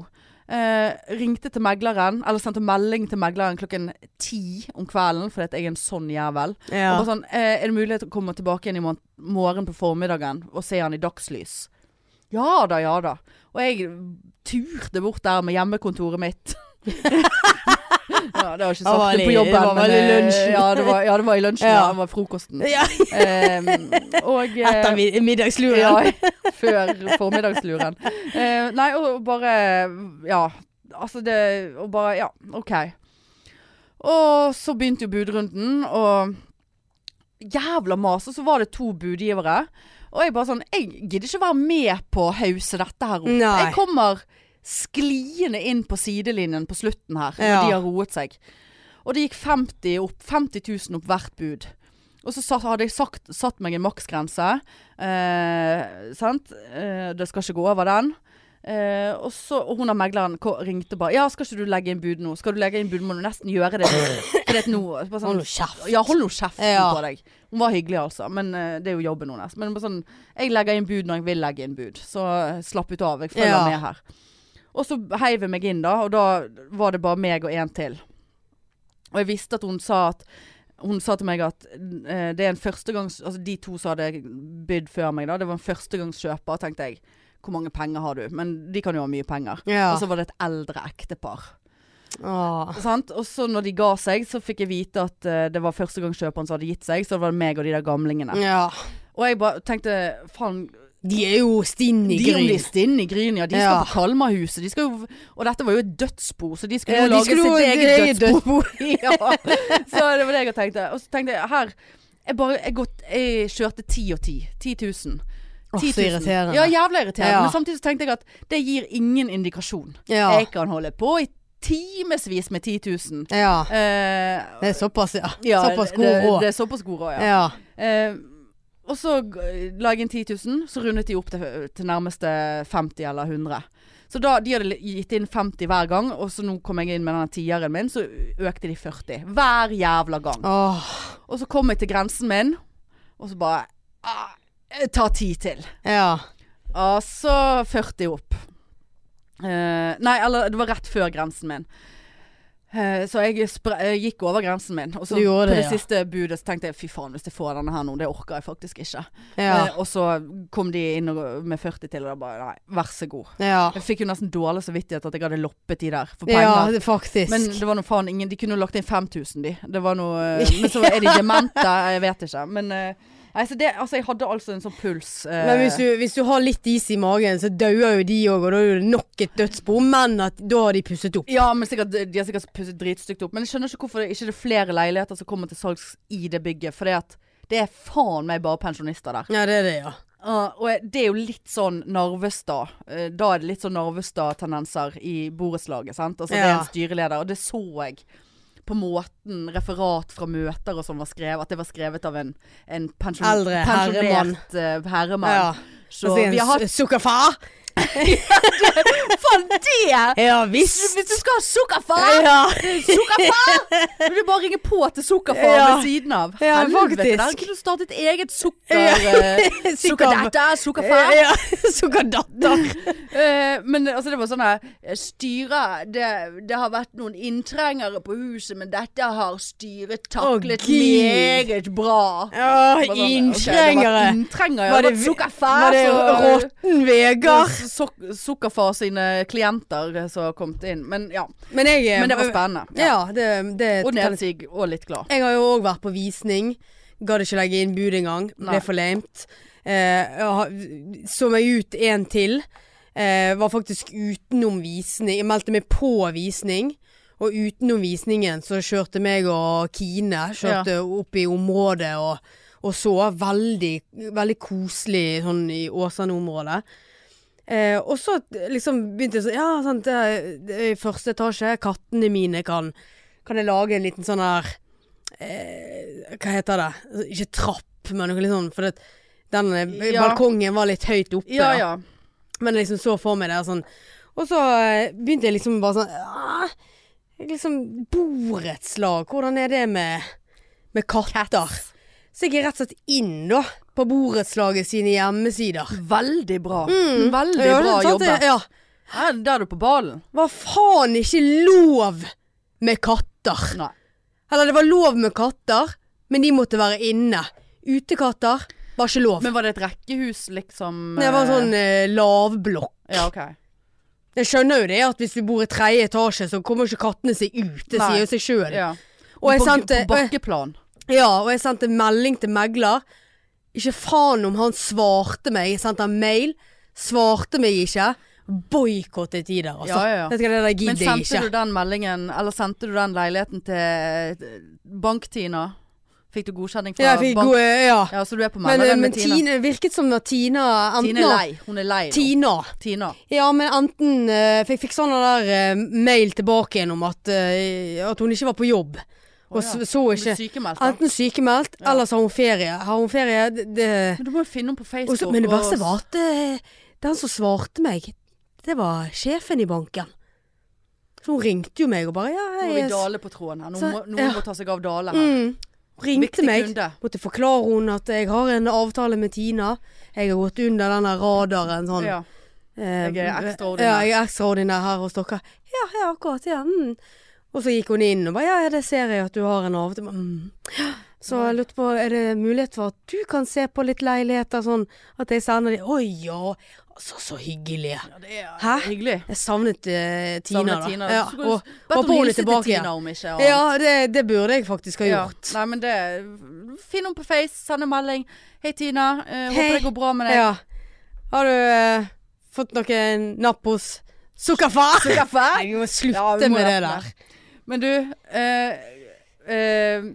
Eh, ringte til megleren, eller sendte melding til megleren klokken ti om kvelden, fordi at jeg er en sånn jævel.
Ja.
Og bare sånn, eh, er det mulighet å komme tilbake igjen i morgen, morgen på formiddagen og se han i dagslys? Ja da, ja da. Og jeg turte bort der med hjemmekontoret mitt. ja, det var ikke
Det var
sagt det
i-
på jobben.
det var
men,
vel i
eh,
lunsjen.
Ja, det var, ja, det var i lunsjen.
Ja.
Ja, det var frokosten.
sånn, ja.
Ehm, og eh,
Etter mid middagsluren.
ja, før formiddagsluren. Eh, nei, og og bare Ja. Altså det Og bare Ja, OK. Og så begynte jo budrunden, og jævla mas. Og så var det to budgivere. Og jeg bare sånn Jeg gidder ikke være med på å hause dette her opp.
Nei.
Jeg kommer skliende inn på sidelinjen på slutten her, når
Ja.
de har roet seg. Og det gikk 50 opp. 50 000 opp hvert bud. Og så satt, hadde jeg sagt, satt meg en maksgrense. Eh, sant? Eh, det skal ikke gå over den. Eh, og så og hun av megleren ko- ringte bare Ja, skal ikke du legge inn bud nå? Skal du legge inn bud, må du nesten gjøre det. For det er nå bare sånn-
Hold nå kjeft.
Ja, hold nå kjeften
Ja.
på deg. Hun var hyggelig, altså. Men eh, det er jo jobben hennes. Men bare sånn, jeg legger inn bud når jeg vil legge inn bud. Så eh, slapp ut av. Jeg følger
Ja.
med her. Og så heiv jeg meg inn, da. Og da var det bare meg og en til. Og jeg visste at hun sa at hun sa til meg at eh, det er en førstegangs... Altså de to som hadde bydd før meg, da. Det var en førstegangskjøper, tenkte jeg. Hvor mange penger har du? Men de kan jo ha mye penger.
Ja.
Og så var det et eldre ektepar.
Åh.
Sant? Og så når de ga seg, så fikk jeg vite at eh, det var førstegangskjøperen som hadde gitt seg. Så det var meg og de der gamlingene.
ja.
Og jeg bare tenkte faen
De er jo stinn i
De om de
gryn.
er stinne i gryn, ja. De skal
Ja.
på Kalmarhuset. De skal jo Og dette var jo et dødsbo, så de skulle
Ja,
jo lage
skulle jo-
sitt
det er
eget
jo
dødsbo.
dødsbo.
ja. Så det var det jeg tenkte. Og så tenkte jeg her Jeg bare Jeg, gått, jeg kjørte 10 og 10. 10 000.
Åh,
10
så
000.
irriterende.
Ja, jævla irriterende.
Ja.
Men samtidig så tenkte jeg at det gir ingen indikasjon.
Ja.
Jeg kan holde på i timevis med 10 000.
ja.
Eh,
Det er såpass, ja.
ja,
såpass god
det,
råd.
det er såpass god råd, ja.
Ja.
Eh, og så g- la jeg inn 10 000, så rundet de opp til, til nærmeste 50 eller 100. Så da, de hadde li- gitt inn 50 hver gang, og så nå kom jeg inn med denne tieren min, så økte de 40. Hver jævla gang.
Åh.
Og så kom jeg til grensen min, og så bare ah, Ta 10 til.
Ja.
Og så 40 opp. Eh, nei, eller det var rett før grensen min. Eh, så jeg spre eh, gikk over grensen min. Og så
Du
på
gjorde
det,
det, ja.
siste budet så tenkte jeg fy faen, hvis jeg får denne her nå, det orker jeg faktisk ikke.
Ja.
Eh, og så kom de inn og, med 40 til, og da bare nei, vær så god.
Ja.
Jeg fikk jo nesten dårlig samvittighet at jeg hadde loppet de der for
Ja,
penger.
det- faktisk.
men det var nå faen ingen De kunne jo lagt inn 5000, de. Det var noe, eh, men så er de demente, jeg vet ikke. Men eh, nei, så det, altså, jeg hadde altså en sånn puls. eh,
Men hvis du, hvis du har litt is i magen, så dauer jo de òg, og da er det nok et dødsbo. Men at da har de pusset opp.
Ja, men sikkert, de har sikkert pusset dritstygt opp. Men jeg skjønner ikke hvorfor det ikke er flere leiligheter som kommer til salgs i det bygget. For det er faen meg bare pensjonister der.
Ja, det er det, ja.
Ah, og jeg- det er jo litt sånn Narvestad. eh, Da er det litt sånn Narvestad-tendenser i borettslaget. sant? Altså det er
Ja.
en styreleder, og det så jeg på måten referat fra møter og sånn var skrevet. At det var skrevet av en, en pensjon,
Eldre herremann.
pensjonert eh, herremann.
Ja.
Så vi har hatt
Sukkerfar?
Faen, det!
Ja
Hvis
visst!
du skal ha sukkerfar!
Ja,
Sukkerfar! Vil du bare ringe på til sukkerfar
Ja.
ved siden av?
Ja, faktisk.
der kunne du startet eget sukker... eh, Sukkerdatter, sukkerfar.
Ja, sukkerdatter.
Eh, men altså, det var sånn her eh, Styret det, det har vært noen inntrengere på huset, men dette har styret taklet
Å, Gud.
meget bra.
Ja,
Bare sånn, ok, det
Inntrengere.
var inntrengere. Ja.
Var
Det
det-
var sukkerfar.
Var det
så-
råtten Vegard?
Suk- Sukkerfar sine klienter eh, som har kommet inn. Men ja.
Men jeg eh,
Men det var spennende.
Ja, det, det
Og
kan jeg si.
nedsig og litt glad.
Jeg har jo òg vært på visning. Gadd ikke legge inn bud engang. Ble
Nei.
for lamet. Eh, jeg har- så meg ut en til. Eh, var faktisk utenom visning. Jeg meldte meg på visning. Og utenom visningen så kjørte meg og Kine kjørte opp i området og, og så. Veldig, veldig koselig sånn i Åsane-området. Eh, og så liksom begynte jeg sånn Ja, sant, det er, det er i første etasje. Kattene mine kan Kan jeg lage en liten sånn her eh, Hva heter det? Ikke trapp, men noe litt sånn. For det, den eh,
Ja.
balkongen var litt høyt oppe.
Ja
da.
ja.
Men jeg liksom så for meg det sånn. Og så eh, begynte jeg liksom bare sånn «Ah, jeg Liksom borettslag, hvordan er det med, med katter? Så jeg gikk rett og slett inn da, på borettslaget sine hjemmesider.
Veldig bra. Mm, Veldig
Mm. Ja,
bra
sant,
jobbet.
Ja.
Her, der er du på ballen.
var faen ikke lov med katter.
Nei.
Eller det var lov med katter, men de måtte være inne. Utekatter var ikke lov.
Men var det et rekkehus, liksom?
det var
eh,
sånn eh, lavblokk.
Ja, OK.
Jeg skjønner jo det at hvis du bor i tredje etasje, så kommer ikke kattene seg ut. Det
Nei.
sier jo seg sjøl.
Ja.
Og jeg
på,
sendte-
på bakkeplan.
Ja, og jeg sendte melding til megler. Ikke faen om han svarte meg. Jeg sendte han mail. Svarte meg ikke. Boikottet de der, altså.
Ja, ja, ja.
Vet du hva, det der
Men
gidder jeg
sendte
ikke.
du den meldingen, eller sendte du den leiligheten til eh, Bank-Tina? Fikk du godkjenning fra
Ja, jeg fikk
Bank?
god Ja.
Ja, så du er på
Men, eh,
meldingen
men,
med
Tina.
Tina?
Tine virket som at Tina enten
Tine er lei. Hun er lei nå.
Tina.
Tina.
Ja, men enten eh, fikk, fikk sånn der eh, mail tilbake igjen om at, eh, at hun ikke var på jobb. Og
Å, ja.
s- så
Hun
ikke
er sykemeldt. da.
Enten sykemeldt,
Ja.
eller så har hun ferie. Har hun ferie, det, det
Men du må jo finne henne på
og
Facebook.
så, Men det verste
og-
var at eh, den som svarte meg, det var sjefen i banken. Så hun ringte jo meg og bare ja,
Nå er
jeg,
vi Dale på tråden her. Nå
Så-
må, noen
ja.
må ta seg av Dale her.
Mm. Hun ringte
Viktig
meg.
kunde.
Måtte forklare hun at jeg har en avtale med Tina. Jeg har gått under denne radaren sånn.
Ja.
Eh,
Jeg er ekstraordinær.
Ja, jeg er ekstraordinær her hos dere. Ja, ja, akkurat. Ja. Mm. Og så gikk hun inn og bare ja, ja, det ser jeg at du har en avtale. Mm. Så jeg lurte på, er det mulighet for at du kan se på litt leiligheter sånn at jeg sender de? Å ja, altså så hyggelig.
ja, det er
Hæ?
hyggelig.
Jeg savnet eh, Tina,
Savner
da.
Tina.
Ja,
Så skulle-
og
Bedt
håper
om
hun er
hilse til
tilbake igjen.
Tina om ikke annet.
Ja, det, det burde jeg faktisk ha
Ja.
gjort.
Nei, men det Finn henne på Face, send en melding. Hei, Tina. eh,
Hei.
Håper det går bra med deg.
Ja. Har du eh, fått noe napp hos Sukkerfar?
Kaffe?
Nei, vi må slutte
Ja, vi må
med det
nesten
der.
Men du eh, eh,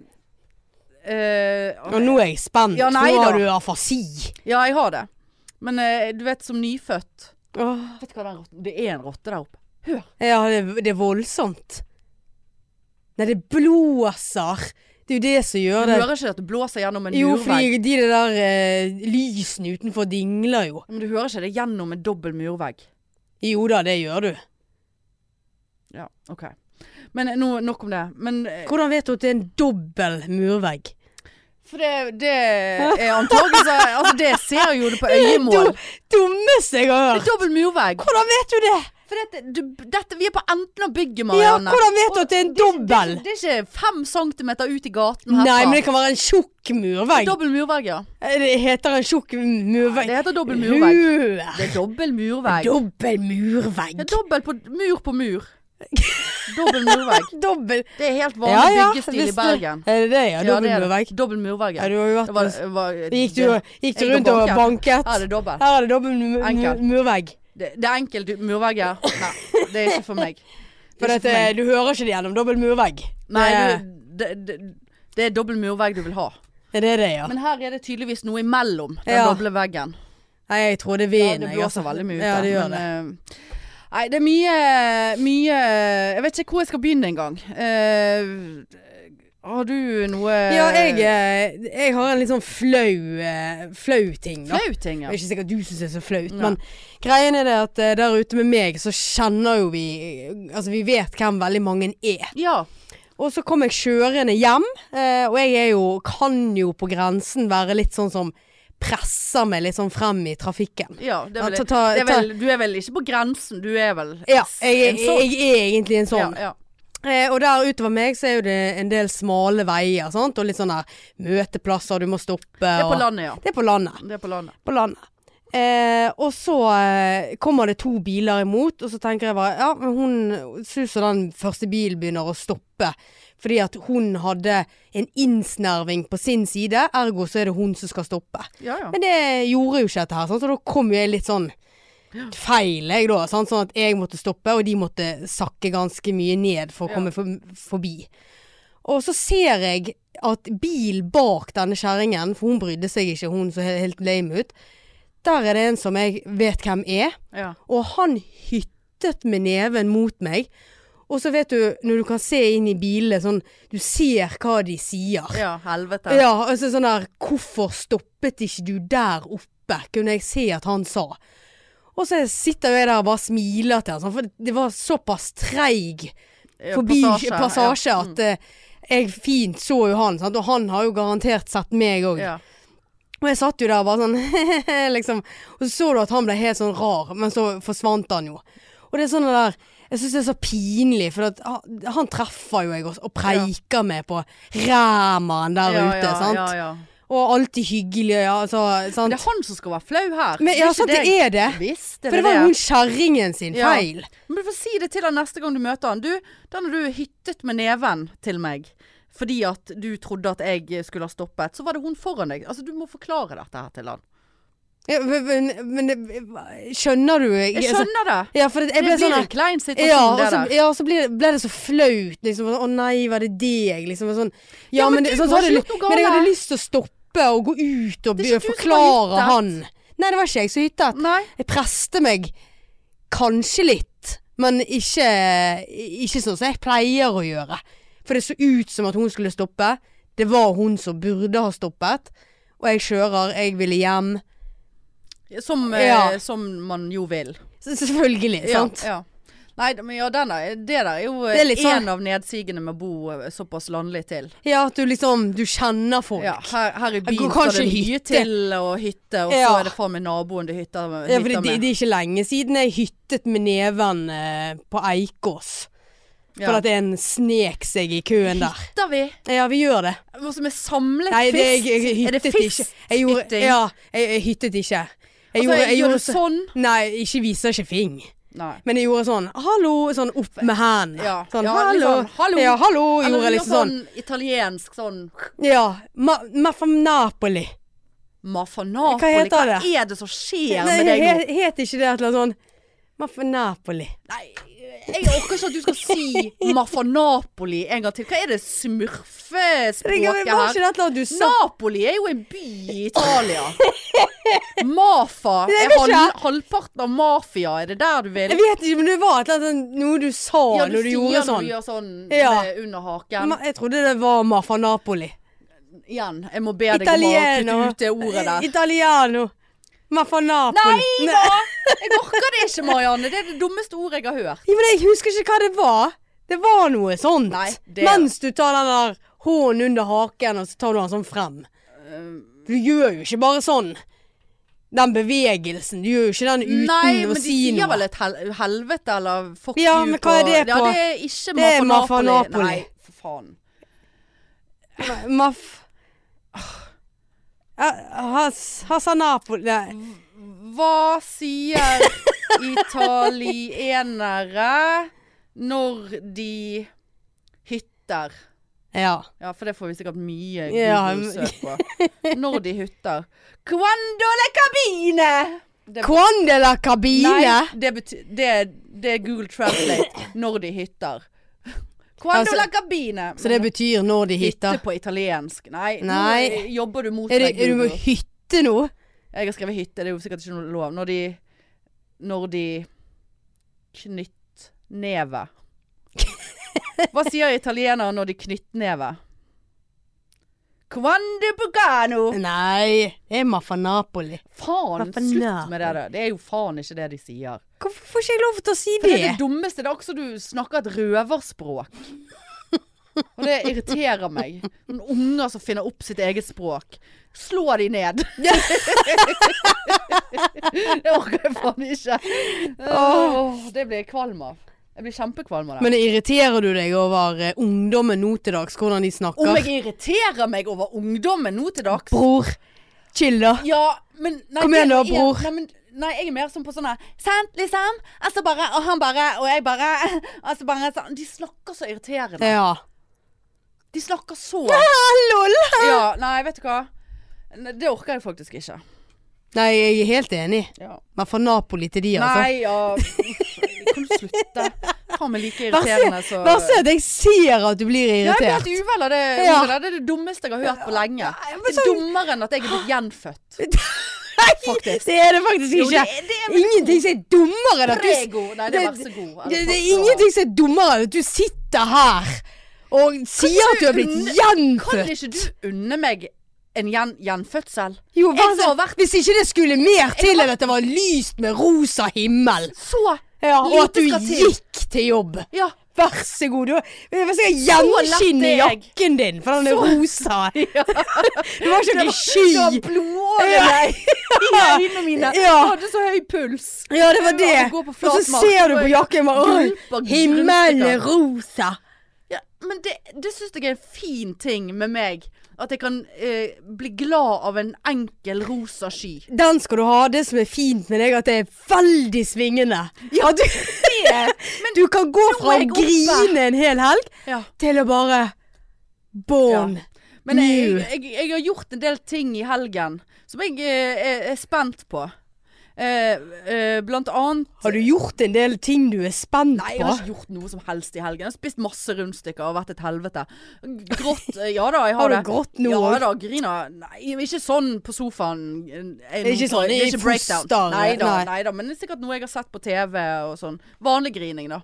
eh,
Og nå er jeg spent.
Ja, nei
nå har
da.
du afasi.
Ja, jeg har det. Men eh, du vet, som nyfødt Vet du hva den rotten Det er en rotte der oppe.
Ja, det, det er voldsomt. Nei, det blåser. Det er jo det som
Du
gjør det.
hører ikke at det blåser gjennom en
Jo,
murvegg.
fordi de det der eh, lysene utenfor dingler jo.
Men du hører ikke det gjennom en dobbel murvegg.
Jo da, det gjør du.
Ja, OK. Men eh, nå, nok om det. Men eh,
Hvordan vet du at det er en dobbel murvegg?
For det, det er antakeligvis Altså, det ser jo du på øyemål.
dum- Dummeste jeg har
Det er
hørt!
dobbel murvegg.
Hvordan vet du det?
For dette, du, dette, vi er på enden av bygget,
Ja,
Marianne.
hvordan vet du at det er en
Det er,
dobbel?
ikke- det er ikke fem centimeter ut i gaten herfra.
Nei, men det kan være en tjukk murvegg. Eh,
Dobbel murvegg, ja.
Det heter en tjukk murvegg.
Det heter dobbel murvegg.
Hør!
Det er dobbel murvegg.
Dobbel murvegg.
Ja, dobbel på mur på mur. Dobbel murvegg.
Dobbel
Det er helt vanlig byggestil i
visst det.
Bergen.
Er det det, ja?
Ja,
Dobbel
det er det.
murvegg.
Dobbel murvegg.
Ja,
ja.
du har jo
Det
vært
var, var,
Gikk du,
det-
gikk du
Jeg går
rundt og
banket.
banket?
Ja, det er dobbel.
Her er det dobbel mu-
Enkelt.
mu- murvegg.
Det, det er enkelt murvegg her. Nei, det er ikke for meg. Det
For
er
dette,
ikke for meg.
du hører ikke det gjennom dobbel murvegg.
Nei,
det,
du, det, det, det er dobbel murvegg du vil ha.
Er det det, ja?
Men her er det tydeligvis noe imellom den
Ja.
doble veggen.
Nei, jeg tror det er vinen.
Ja, det
jeg,
blåser
altså.
veldig mye ute.
Ja, det gjør det.
men, eh, nei, det er mye, mye Jeg vet ikke hvor jeg skal begynne engang. Uh, har du noe
Ja, jeg, eh, jeg har en litt sånn flau, eh, flau ting, da.
Flau ting, ja.
Det er ikke sikkert du syns det er så flaut,
Nei.
men greien er det at eh, der ute med meg, så kjenner jo vi Altså, vi vet hvem veldig mange er.
Ja.
Og så kom jeg kjørende hjem, eh, og jeg er jo, kan jo på grensen være litt sånn som presser meg litt sånn frem i trafikken.
ja det er vel,
Ja, ta- ta-
det er vel, du er vel ikke på grensen, du er vel
Ja,
en
jeg,
sånn?
jeg er egentlig en sånn.
Ja, ja.
Eh, og der utover meg så er jo det en del smale veier, sant? og litt sånn der møteplasser du må stoppe.
Det er på
og-
landet, ja.
Det er på landet.
Det er på landet.
på landet. Eh, og så eh, kommer det to biler imot, og så tenker jeg bare Ja, men hun Susan, den første bilen, begynner å stoppe. Fordi at hun hadde en innsnerving på sin side, ergo så er det hun som skal stoppe.
Ja, ja.
Men det gjorde jo ikke dette her, sant? så da kom jo jeg litt sånn feil, jeg da. Sant? Sånn at jeg måtte stoppe, og de måtte sakke ganske mye ned for å
Ja.
komme for, forbi. Og så ser jeg at bil bak denne kjerringen, for hun brydde seg ikke, hun så he- helt lame ut. Der er det en som jeg vet hvem er,
ja.
og han hyttet med neven mot meg. Og så vet du, når du kan se inn i bilene, sånn Du ser hva de sier.
ja helvete.
Ja, altså sånn der Hvorfor stoppet ikke du der oppe? Kunne jeg se at han sa. Og så sitter jo jeg der og bare smiler til han, sånn, for det var såpass treig
Ja, Mm.
forbi passasje,
ja.
at eh, jeg fint så jo han, sant? og han har jo garantert sett meg òg.
Mm. Ja.
Og jeg satt jo der bare sånn liksom. Og så så du at han ble helt sånn rar, men så forsvant han jo. Og det er sånn det der Jeg syns det er så pinlig, for at han, han treffer jo jeg også, og preiker meg på ræmaen der
ja,
ute,
ja,
sant.
Ja, ja.
Og alltid hyggelig, ja, altså, sant.
Det er han som skal være flau her.
Men ja, sant, det er det.
Visst, det
For det var jo hun kjerringen sin
Ja.
feil.
Men du får si det til han neste gang du møter han. Du, den har du hyttet med neven til meg. Fordi at du trodde at jeg skulle ha stoppet. Så var det hun foran deg. Altså, du må forklare dette her til han.
Ja, men, men det- skjønner du? Jeg,
Jeg skjønner det.
Ja, for det, jeg
Det
ble
blir
sånn
en klein situasjon,
Ja, og
det
så,
der.
ja, og så ble, ble det så flaut. Liksom. Å nei, var det deg? Liksom, og sånn. ja,
Ja, men
det-
du
sånn, så
har
hadde
ikke
jeg
gjort
lyst-
noe
men jeg
galt.
hadde lyst til å stoppe og gå ut
Det er
og
ikke
be-
du som har
forklare
hyttet.
han. Nei, det var ikke jeg som hyttet.
Nei.
Jeg preste meg kanskje litt, men ikke, ikke sånn som jeg pleier å gjøre. For det så ut som at hun skulle stoppe. Det var hun som burde ha stoppet. Og jeg kjører, jeg ville hjem.
Som, eh,
Ja.
som man jo vil.
Så- Selvfølgelig,
Ja,
sant?
Ja. Nei, d- men ja, den er, det der er jo
Det er
en
litt sånn-
av nedsigene med å bo eh, såpass landlig til.
Ja, at du liksom, du kjenner folk.
Ja, her, her i
Jeg går
byen skal
kanskje
det mye
hytte.
til å hytte, og så
Ja.
er det faen meg naboen du hytter,
Ja,
hytter
for det, det,
med.
det er ikke lenge siden jeg hyttet med neven eh, på Eikås. For
Ja.
at en snek seg i køen der.
Hytter vi?
Ja, vi gjør det.
Og så med samlet
Nei, det, jeg,
fist?
jeg
er det
hyttet ikke. Jeg gjorde,
fisthytting?
ja, jeg, jeg hyttet ikke. Jeg
altså,
gjorde, jeg
gjør
gjorde
du
så,
sånn?
Nei, ikke viser ikke fing.
Nei.
Men jeg gjorde sånn hallo, sånn opp med hendene.
Ja,
Sånn
ja, litt
hallo.
sånn, hallo.
Ja, hallo,
Eller du
gjorde jeg
gjør
liksom sånn.
italiensk sånn
Ja. Ma, ma fra Napoli.
Mafanapoli,
Hva heter
hva
det?
er det som skjer
Nei,
med deg nå?
he- het ikke det et eller annet sånn Ma fra Napoli.
Nei, jeg orker ikke at du skal si Mafanapoli en gang til. Hva er det
Det var
smurfespråket
ikke det et
her?
eller annet du sa?
Napoli er jo en by i Italia. Mafa
Det er
er
det
hal
ikke.
halvparten av mafia. Er det der du vil?
Jeg vet ikke, men det var et eller annet sånn- noe du sa
Ja,
når du gjorde
sier når
sånn.
du gjør sånn
Ja.
med under haken.
Ma- Jeg trodde det var Ma fra Napoli.
Igjen, jeg må be deg om å
Italiano.
kutte ut det ordet der.
Italiano. Ma fra Napoli.
Nei da! Jeg orker det ikke, Marianne. Det er det dummeste ordet jeg har hørt.
Ja, men jeg husker ikke hva det var. Det var noe sånt.
Nei, det-
Mens du tar den der hånden under haken, og så tar du den sånn frem.
Eh,
Du gjør jo ikke bare sånn. Den bevegelsen. Du gjør jo ikke den uten
Nei, men
å
de
si
sier vel
noe.
et hel helvete eller fuck
Ja,
you
men hva er
på-
det
Ja,
på?
det er ikke
Det er
Mafanapoli.
Mafanapoli.
Nei, for faen.
Maff... Ah, eh, Has, Hasanapoli Nei.
Hva sier italienere når de hytter?
Ja.
Ja, for det får vi sikkert mye
Ja,
Google-søk på. Når de hytter. Quando le cabine! Det
Quandela cabine.
Nei, det, bety det, det er Google Translate når de hytter. Quando
Altså,
la cabine.
Så det betyr når de
hytte
hytter.
på italiensk. Nei,
Nei.
nå jobber du mot
Er du,
meg,
er du med
Google.
hytte nå?
Jeg har skrevet hytte, det er jo sikkert ikke noe lov. Når de, når de knyttneve. Hva sier italienere når de knyttneve? Quando Bugano!
Nei, det er Mafanapoli.
Faen,
Hva for
slutt med det der. Det er jo faen ikke det de sier.
Hvorfor får ikke jeg lov til å si
For det er det dummeste. Det er akkurat som du snakker et røverspråk. Og det irriterer meg. Noen unger som finner opp sitt eget språk. Slå de ned. det orker jeg faen ikke. Åh, det blir jeg kvalm av. Jeg blir kjempekvalm av det.
Men irriterer du deg over eh, ungdommen nå til dags, hvordan de snakker?
Om jeg irriterer meg over ungdommen nå til dags?
Bror, chill da.
Ja, men nei,
Kom igjen
det
da,
er-
bror.
Nei, men, nei, jeg er mer sånn på sånn her Sant, liksom? Altså bare Og han bare Og jeg bare Altså bare sånn De snakker så irriterende.
Ja.
De snakker så Ah,
Lol.
Ja, nei, vet du hva. Ne- Det orker jeg faktisk ikke.
Nei, jeg er helt enig.
Ja.
Men fra Napoli til de, altså.
Nei, ja Kan du slutte? Faen meg like
Vær
irriterende
så,
så
vær så at jeg ser at du blir
Ja, jeg blir helt
irritert.
uvel av det.
Ja.
ordet der. Det er det dummeste jeg har hørt på lenge.
men
Det er dummere enn at jeg er blitt gjenfødt. Faktisk.
Det er det faktisk
Jo, det
ikke.
er- det er-
Ingenting som er dummere enn at du
Prego. Nei, det er vær så god.
Det, det er ingenting som er dummere enn at du sitter her og sier at du
du
har blitt
unne- Kan
gjenfødt.
ikke du unne meg en gjen, gjenfødsel?
Jo,
Jeg
vær
som
så,
har vært-
hvis ikke det skulle mer til enn at det var lyst med rosa himmel,
Så
ja, og
lite
at du
skal til.
gikk til jobb.
ja,
Vær så god. Du, jeg skal
lett
gjenskinne
er jeg.
jakken din, for den er rosa. Du var
det
ikke noe
var,
sky.
det var blodårene
Ja.
i øynene mine.
Ja.
Jeg hadde så høy puls.
Ja, det var
Jeg
det.
går på
Og så
flatmark,
ser du
og
på
jeg
jakken bare «Åh,
gulper, gulper».
Himmelen er rosa.
Ja, men det, det syns jeg er en fin ting med meg. At jeg kan eh, bli glad av en enkel rosa sky.
Den skal du ha. Det som er fint med deg, at det er veldig svingende. Ja, du, du kan gå
nå
fra
er
å
jeg oppe.
grine en hel helg
Ja.
til å bare Born.
Men jeg,
New.
jeg, jeg har gjort en del ting i helgen som jeg eh, er, er spent på. Eh, eh, blant annet
Har du gjort en del ting du er spent
Nei, jeg
på?
har ikke gjort noe som helst i helgen. Jeg har spist masse rundstykker og vært et helvete. Grått eh, Ja da, jeg har,
Har du
det.
grått nå
Ja
òg?
da, grina. Nei, ikke sånn på sofaen. Eh,
er ikke sånn
det er
i
ikke breakdown.
foster,
Nei da,
nei.
nei da. Men det er sikkert noe jeg har sett på TV og sånn. Vanlig grining, da.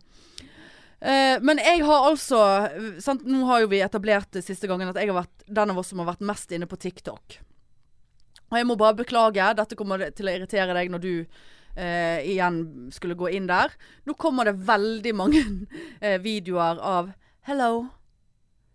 Eh, men jeg har altså eh, sant, Nå har jo vi etablert det siste gangen at jeg har vært den av oss som har vært mest inne på TikTok. Og jeg må bare beklage. Dette kommer til å irritere deg når du eh, igjen skulle gå inn der. Nå kommer det veldig mange eh, videoer av Hello,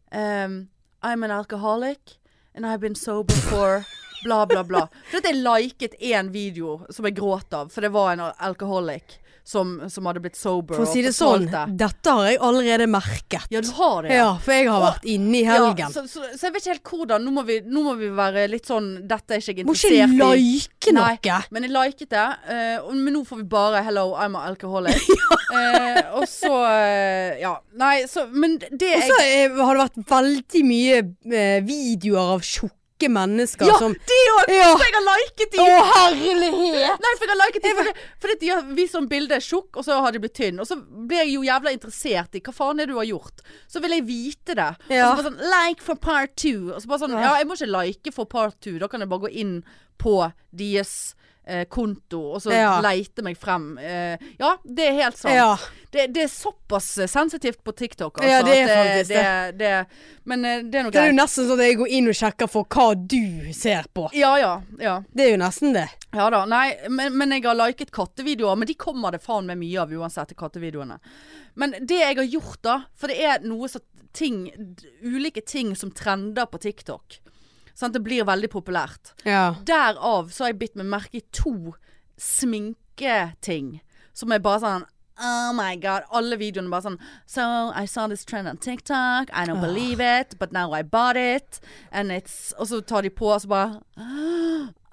um, I'm an alcoholic and I've been sober for bla bla bla. For at jeg liket én video som jeg gråt av, for det var en alcoholic som, som hadde blitt sober.
For å si
og
det sånn,
fortalte.
dette har jeg allerede merket.
Ja, du har det.
Ja, for jeg har vært inne i
Ja,
helgen.
så, så, så jeg vet ikke helt hvordan. Nå må vi, nå må vi være litt sånn Dette er ikke jeg
Må ikke
interessert i.
like
Nei.
noe.
Men jeg liket det. eh, og- men nå får vi bare 'hello, I'm a alcoholic'. Eh, og så eh, Ja. Nei, så Men det
Og
jeg
så eh, har det vært veldig mye eh, videoer av tjukke mennesker
Ja,
som
de òg!
Ja.
For jeg har liket de!
Å, herlighet!
Nei, for jeg har liket de fordi, fordi de har vist sånn bilde tjukk, og så har de blitt tynn. Og så ble jeg jo jævla interessert i hva faen er det du har gjort. Så vil jeg vite det.
Ja.
Og så bare sånn Like for part two. Og så bare sånn Ja, jeg må ikke like for part two. Da kan jeg bare gå inn på deres eh, konto og så
Ja.
leite meg frem. Eh, ja, det er helt sant.
Ja.
Det, det er såpass eh, sensitivt på TikTok, altså.
Ja, det er
at
faktisk
det, det. Men eh, det er noe
Det er jo
greit.
nesten sånn at jeg går inn og sjekker for hva du ser på.
Ja, ja. ja.
Det er jo nesten det.
Ja da, nei, men, men jeg har liket kattevideoer, men de kommer det faen meg mye av uansett, de kattevideoene. Men det jeg har gjort da, for det er noe så ting, d- ulike ting som trender på TikTok. Sant, det blir veldig populært.
Ja.
Derav så har jeg bitt meg merke i to sminketing som er bare sånn Oh my god. Alle videoene bare sånn So I saw this trend on TikTok. I don't believe it, but now I bought it. And it's Og så tar de på, og så bare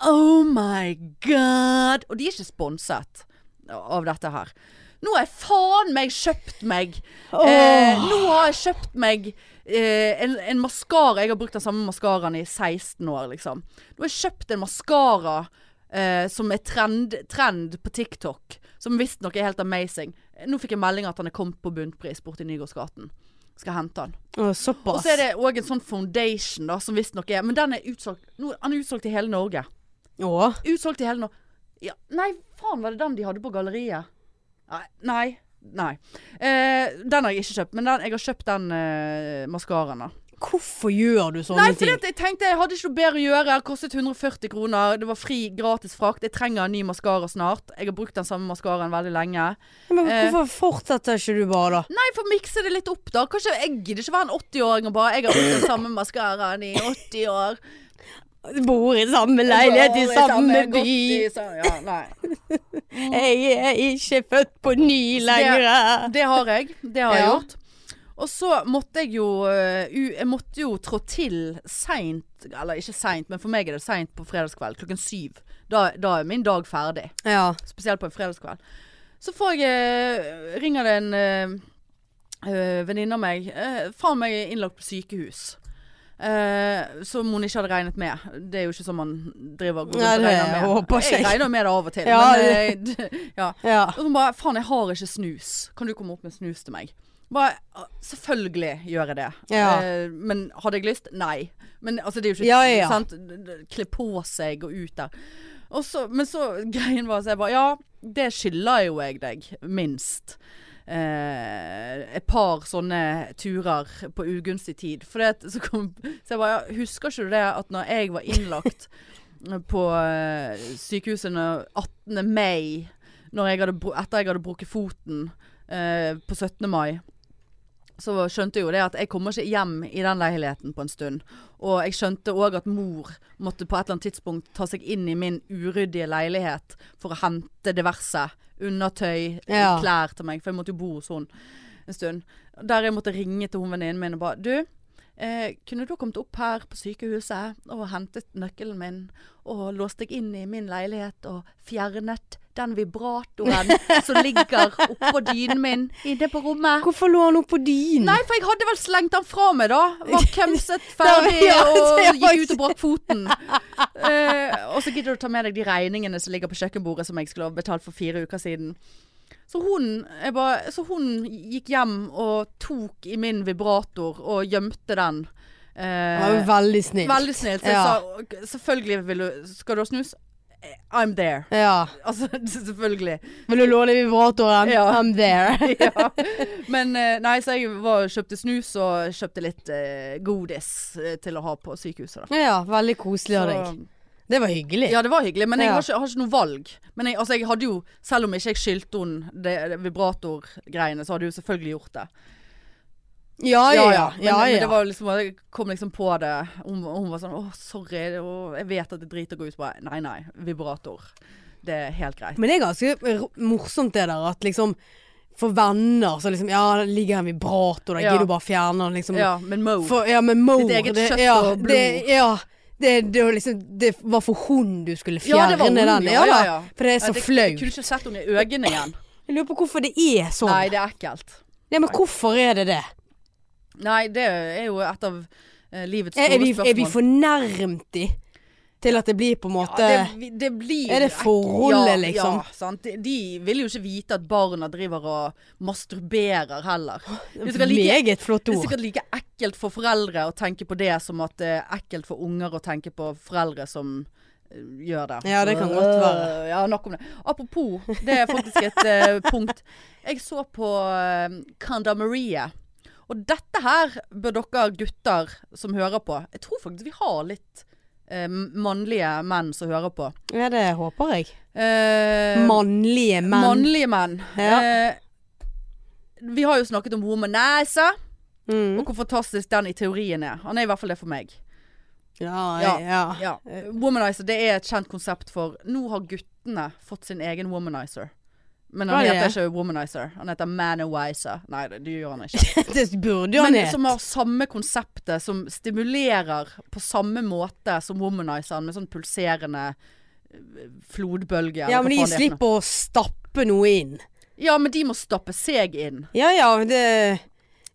Oh my god. Og de er ikke sponset av dette her. Nå har jeg faen meg kjøpt meg eh, Nå har jeg kjøpt meg eh, en, en maskara. Jeg har brukt den samme maskaraen i 16 år, liksom. Nå har jeg kjøpt en maskara eh, som er trend, trend på TikTok. Som visstnok er helt amazing. Nå fikk jeg melding at han er kommet på bunnpris borti Nygårdsgaten. Skal hente han.
Å,
Og
såpass.
så er det òg en sånn foundation da, som visstnok er Men den er utsolgt. Nå, han er utsolgt i hele Norge.
Å,
Utsolgt i hele nå... Ja, nei, faen var det den de hadde på galleriet? Nei. Nei. nei. Eh, den har jeg ikke kjøpt, men den, jeg har kjøpt den eh, maskaraen. da.
hvorfor gjør du sånne
Nei,
ting?
fordi at jeg tenkte jeg hadde ikke noe bedre å gjøre. Kostet 140 kroner. Det var fri, gratis frakt. Jeg trenger en ny maskara snart. Jeg har brukt den samme maskaraen veldig lenge.
Men
eh,
hvorfor fortsetter ikke du bare, da?
Nei, få mikse det litt opp, da. Kanskje Jeg gidder ikke være en 80-åring og bare Jeg har brukt den samme maskaraen i 80 år.
Bor i samme leilighet i
Går
samme
godt
by.
i sa- Ja, nei.
Jeg er ikke født på ny lenger.
Det har jeg. Det har jeg
Ja.
gjort. Og så måtte jeg jo eh, u- Jeg måtte jo trå til seint Eller ikke seint, men for meg er det seint på fredagskveld. Klokken syv. Da, da er min dag ferdig.
Ja.
Spesielt på en fredagskveld. Så får jeg eh, ringer det en eh, eh, venninne av meg. Eh, faen meg er innlagt på sykehus. Eh, som hun ikke hadde regnet med. Det er jo ikke sånn man driver og går
Nei,
rundt og
det
regner med.
håper ikke
jeg
jeg.
regner jo med det av og til.
Ja,
men, eh, ja.
ja.
Og hun bare 'faen, jeg har ikke snus. Kan du komme opp med snus til meg?' Bare, «Ah, Selvfølgelig gjør jeg det.
Ja.
Eh, men hadde jeg lyst? Nei. Men altså, det er jo ikke
Ja, ja, ja.
sant d- d- Kle på seg og ut der. Og så, men så greien var så jeg bare Ja, det skylder jo jeg deg, minst. Eh, et par sånne turer på ugunstig tid. For det, at- så, kom, så jeg bare ja, Husker ikke du det at når jeg var innlagt på eh, sykehuset når- 18. mai når jeg hadde, bru- etter jeg hadde brukket foten eh, på 17. mai, så skjønte jeg jo det at jeg kommer ikke hjem i den leiligheten på en stund. Og jeg skjønte òg at mor måtte på et eller annet tidspunkt ta seg inn i min uryddige leilighet for å hente diverse undertøy,
Ja.
klær til meg, for jeg måtte jo bo hos hun en stund. Der jeg måtte ringe til hun venninnen min og bare Du, eh, kunne du kommet opp her på sykehuset og hentet nøkkelen min, og låst deg inn i min leilighet og fjernet den vibratoren som ligger oppå dynen min inne på rommet?
Hvorfor lå han oppå din?
Nei, for jeg hadde vel slengt den fra meg da. Var kemset ferdig
Ja, det
og
var
gikk ut og brakk foten. Eh, og så gidder du ta med deg de regningene som ligger på kjøkkenbordet som jeg skulle ha betalt for fire uker siden. Så hun, jeg bare, så hun gikk hjem og tok i min vibrator og gjemte den. Eh,
Han var jo veldig snill.
veldig snill. Så jeg
Ja.
sa selvfølgelig vil du Skal du ha snus? Eh, I'm there.
Ja.
Altså selvfølgelig.
Vil du låne vibratoren?
Ja.
I'm there.
ja. Men eh, nei, så jeg var, kjøpte snus og kjøpte litt eh, godis eh, til å ha på sykehuset. Da.
Ja, veldig koselig av deg.
Så-
Det var hyggelig.
ja, det var hyggelig, men jeg
Ja.
har ikke, har ikke noe valg. Men jeg, altså, jeg hadde jo, selv om ikke jeg skyldte henne det, det vibratorgreiene, så hadde jeg jo selvfølgelig gjort det.
ja, ja. ja,
Men,
ja,
men det var liksom, jeg kom liksom på det. Hun, hun var sånn 'Å, sorry, det- å, jeg vet at det driter å gå ut'. Så Bare, nei, nei, vibrator. Det er helt greit.
Men det er ganske r- morsomt det der at liksom for venner så liksom Ja, det ligger en vibrator der,
Ja.
gidder du bare fjerne den, liksom.
Ja, men Mo
For, ja, men mor
Ditt eget
det-
kjøtt
ja,
og blod.
Det, ja. Det, det, var liksom, det var for hun du skulle fjerne
det var hun,
den.
ja, ja,
Ja, da.
ja.
For det er
Nei, det-
så
Jeg
flaut.
kunne ikke sett henne i øynene igjen.
Jeg lurer på hvorfor det er sånn.
Nei, det er ekkelt.
ja, men hvorfor er det det?
Nei, det er jo et av eh, livets
Er,
store
er, vi,
spørsmål.
er vi fornærmet de til at det blir på en måte
ja, det, vi- det blir
Er det forholdet,
ja,
liksom?
Ja, sant. De, de vil jo ikke vite at barna driver og masturberer heller. Det er sikkert like,
Meget flott
det er
ord.
sikkert like ekkelt for foreldre å tenke på det som at det er ekkelt for unger å tenke på foreldre som eh, gjør det.
Ja, det kan godt være.
Øh, Ja, nok om det. Apropos, det er faktisk et eh, punkt. Jeg så på uh, Kandameriet. Og dette her bør dere gutter som hører på Jeg tror faktisk vi har litt eh, mannlige menn som hører på.
Ja, det håper jeg.
Eh,
Mannlige menn.
Mannlige menn.
Ja.
Eh, vi har jo snakket om womanizer,
Mm.
og hvor fantastisk den i teorien er. Han er i hvert fall det for meg.
Ja,
Ja.
ja. ja.
Ja. Eh, Womanizer det er et kjent konsept for Nå har guttene fått sin egen womanizer. Men han
Hva er
heter
det?
ikke womanizer. Han heter manawizer. Nei, det, det gjør han ikke.
Det burde jo han
Men
hett.
som har samme konseptet, som stimulerer på samme måte som womanizeren, med sånn pulserende eh, flodbølge.
Ja,
eller hva
men de
faen det er for noe.
slipper å stappe noe inn.
Ja, men de må stappe seg inn.
Ja ja, det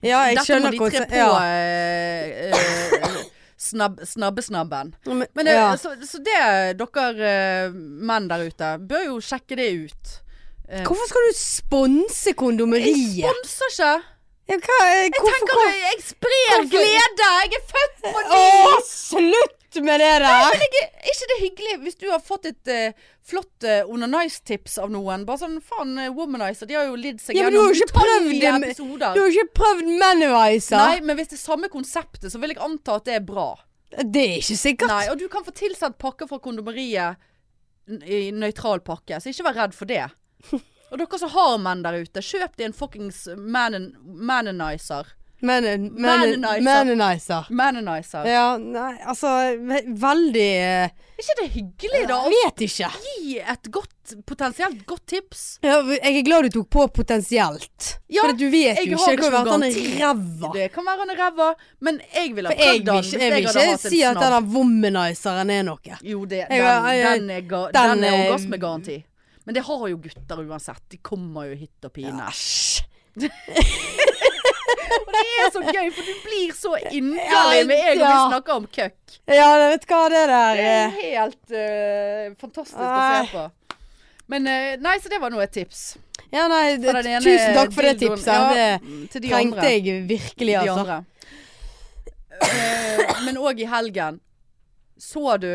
Ja, jeg
Dette må
skjønner
de
hvor-
tre på
ja.
eh, eh, snabb, Snabbesnabben.
Men,
Men det,
ja.
så, så det, dere eh, menn der ute, bør jo sjekke det ut. Eh,
Hvorfor skal du sponse
jeg
kondomeriet?
sponser ikke!
Ja, hva, eh,
Jeg
hvorfor,
tenker det- jeg sprer
Hvorfor-
glede! Jeg er født på
Å, slutt! Slutt med det der!
Er ikke det hyggelig hvis du har fått et eh, flott uh, onanize-tips av noen? Bare sånn faen, eh, womanizer, de har jo lidd seg
Ja, men du har jo ikke prøvd
utallige
det med-
episoder.
Du har ikke prøvd Manivizer.
Nei, men hvis det er samme konseptet, så vil jeg anta at det er bra.
Det er ikke sikkert.
Nei, og du kan få tilsendt pakker fra kondomeriet n- i nøytral pakke, så ikke vær redd for det. Og dere som har menn der ute, kjøp deg en fuckings manen- mananizer.
Manen- manen-
Mananizer.
Mananizer.
Mananizer.
Ja, nei, altså ve Veldig eh,
Er ikke det hyggelig, da? Å
Vet ikke.
gi et godt, potensielt godt tips.
Ja, jeg er glad du tok på potensielt.
Ja,
For at du vet
jeg
jo
har
ikke. Det kan jo
ikke
være at han
noe
er ræva.
Det kan være han er ræva, men jeg ville
For
ha
jeg
prøvd
vil
den hvis
ikke, jeg vil
hadde
ikke
hatt en
si at
snobb.
denne womanizeren er noe.
Jo, det, den,
Jeg var- jeg-
den er, ga,
den
den er
er-
orgasmegaranti. Men det har jo gutter uansett. De kommer jo i hytt og pine.
Æsj.
Og det er så gøy, for du blir så
Ja,
inderlig med en gang
ja.
vi snakker om køkk.
Ja, vet du hva det der
Det er
eh,
helt eh, fantastisk å
Nei.
se på. Men eh, nei, så det var nå et tips.
Ja, nei,
Fra den ene
tusen takk for det
dildoen.
tipset. det
Ja, mm, til de
trengte
andre.
jeg virkelig,
De
altså.
andre. Eh, men òg i helgen så du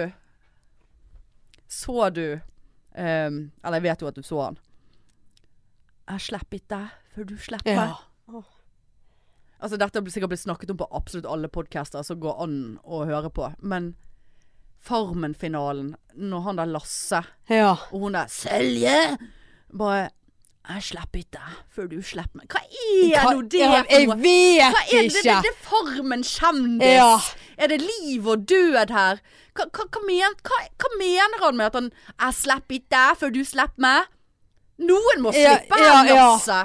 Så du ehm, Eller jeg vet jo at du så han. Jeg slipper ikke deg før du slipper.
Ja.
meg. Altså Dette har sikkert blitt snakket om på absolutt alle podcaster som går an å høre på. Men Farmen-finalen, når han der Lasse
ja.
og hun der Selje bare Jeg slipper ikke deg før du slipper meg. Hva er nå det
Ja,
for noe?
jeg vet
Hva er det?
ikke.
Det, det er Farmen kjendis.
Ja.
Er det liv og død her? Hva, hva, hva, men, hva, hva mener han med at han 'Jeg slipper ikke deg før du slipper meg'? Noen må
Ja,
slippe
ja,
her,
ja.
Lasse.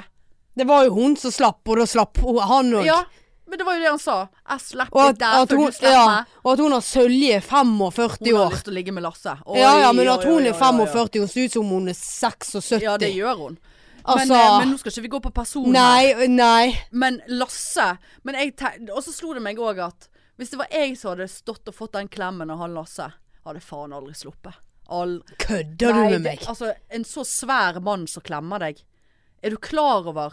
Det var jo hun som slapp, og da slapp hun- han òg.
Ja. Men det var jo det han sa. 'Jeg
Og
slipper
at,
ikke deg
at,
før
hun,
du slipper
ja,
meg'.
og at hun har Sølje 45
Hun har
år.
lyst til å ligge med Lasse. Oi,
Ja, ja, men at
oi,
hun
oi,
er
oi, oi.
45 og ser ut som hun er 76.
Ja, det gjør hun.
Altså-
men, eh, men nå skal ikke vi gå på personer.
Nei, nei.
Men Lasse men jeg te- Og så slo det meg òg at hvis det var jeg som hadde stått og fått den klemmen av han Lasse, hadde faen aldri sluppet. Al-
Kødder
Nei,
du
det-
med meg?
Altså, en så svær mann som klemmer deg. Er du klar over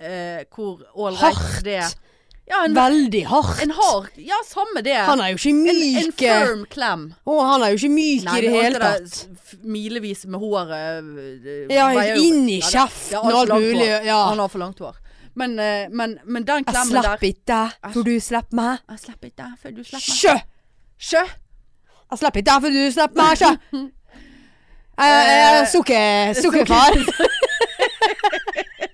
eh, hvor ålreit
Hardt.
det er? Ja, en,
Veldig hardt.
en hard Ja, samme det.
Han er jo ikke
en
myk. eh,
firm klem.
Å, han er jo ikke myk
Nei,
i det
men alt
hele
der
tatt.
f- Milevis med håret øh,
Ja,
veier jo-
inn i
Ja, det-
kjeften
ja,
og
alt for
alt
langt
mulig,
hår.
ja. Ah,
Han har for langt hår. Men, øh, men, men den
Jeg
klemmen der Ah,
slapp ikke deg før du slapp meg.
Jeg slipper ikke deg før du slipper meg.
Sjø!
Sjø!
Jeg slapp ikke deg før du slapp meg, sjø! Eh, eh, Sukker... Sukkerfar.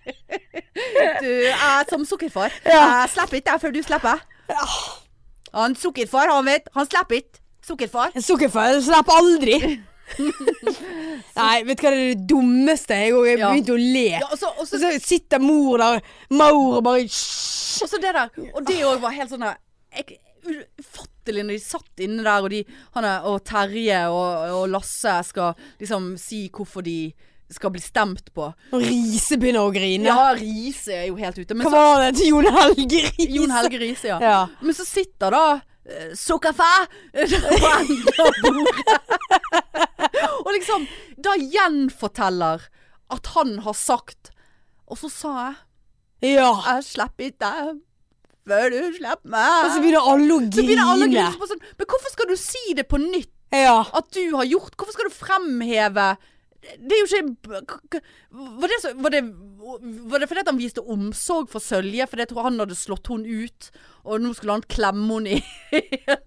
Du er som sukkerfar. Ah,
Ja.
Jeg slipper ikke deg før du slipper. Han sukkerfar, han vet. Han slipper ikke. Sukkerfar.
Sukkerfar jeg slapp aldri. Nei, vet du hva det er det dummeste? Jeg, og jeg
Ja.
begynte å le.
Ja, og så, og
Og
så,
så sitter mor der, Maur, og bare Hysj!
og så det der. Og det òg var helt sånn der jeg- Ufattelig når de satt inne der, og, de, han er, og Terje og, og Lasse skal liksom si hvorfor de skal bli stemt på.
Og Riise begynner å grine.
Ja, Riise er jo helt ute. Men
Hva
så,
var det til Jon Helge Riise?
Jon Helge Riise, ja.
Ja.
Men så sitter da eh, Sukkerfæ på enden av bordet. Og liksom da gjenforteller at han har sagt Og så sa jeg
Ja.
'Jeg slipper ikke deg før du slipper
Og så
meg'.
begynner alle å grine.
Så begynner alle å grine på sånn Men hvorfor skal du si det på nytt
Ja.
at du har gjort? Hvorfor skal du fremheve det er jo ikke Var det, så, var det, var det fordi at han viste omsorg for Sølje? Fordi jeg tror han hadde slått hun ut, og nå skulle han klemme henne i
ja.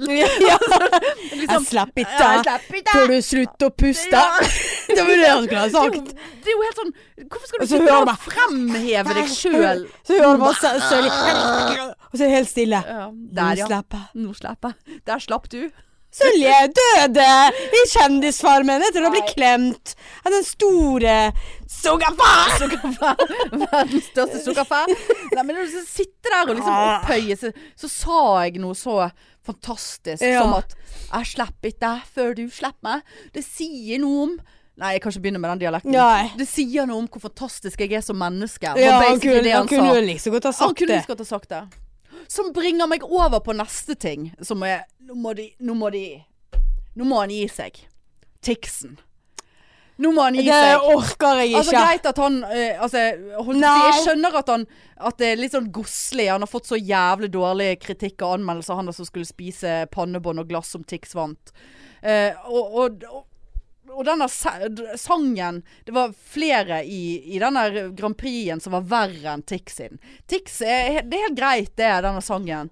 liksom,
Jeg slapp
Ja, jeg
ikke deg
slapp ikke.
før du slutter å puste.
Ja.
Det var det han
Det
skulle ha
er jo-
sagt.
Det er jo helt sånn Hvorfor skal du
Og så
sitte
hører
og
man-
fremheve deg sjøl?
Så gjør det masse sølv. Og så er det helt stille.
Ja,
Nå
der, ja.
slipper jeg.
Nå slipper jeg. Der slapp du.
Sølje døde i Kjendisfarmen etter å bli klemt av den store Sogafar.
Verdens største sukkerfær. Nei, men når du sitter der og liksom
Ah.
opphøyer seg, så sa jeg noe så fantastisk
Ja.
som at Jeg slipper ikke deg før du slipper meg. Det sier noe om Nei, jeg kan ikke begynne med den dialekten.
Nei.
Det sier noe om hvor fantastisk jeg er som menneske. var
Ja, han
basically
kunne,
det
han
sa.
kunne jo like så godt ha
Han
sagt
kunne
det.
like godt ha sagt det. Som bringer meg over på neste ting, som er Nå må de Nå må de Nå må han gi seg. Tixen. Nå må han liksom gi
Det
seg.
orker jeg ikke.
Altså Greit at han eh, altså, holdt, på å si,
Nei.
Jeg skjønner at, han, at det er litt sånn godslig. Han har fått så jævlig dårlig kritikk og anmeldelser, han der som skulle spise pannebånd og glass som Tix vant. Eh, og, og, og og denne sa- d- sangen Det var flere i, i denne Grand Prixen som var verre enn Tix sin. Tix er, det er helt greit, det, denne sangen.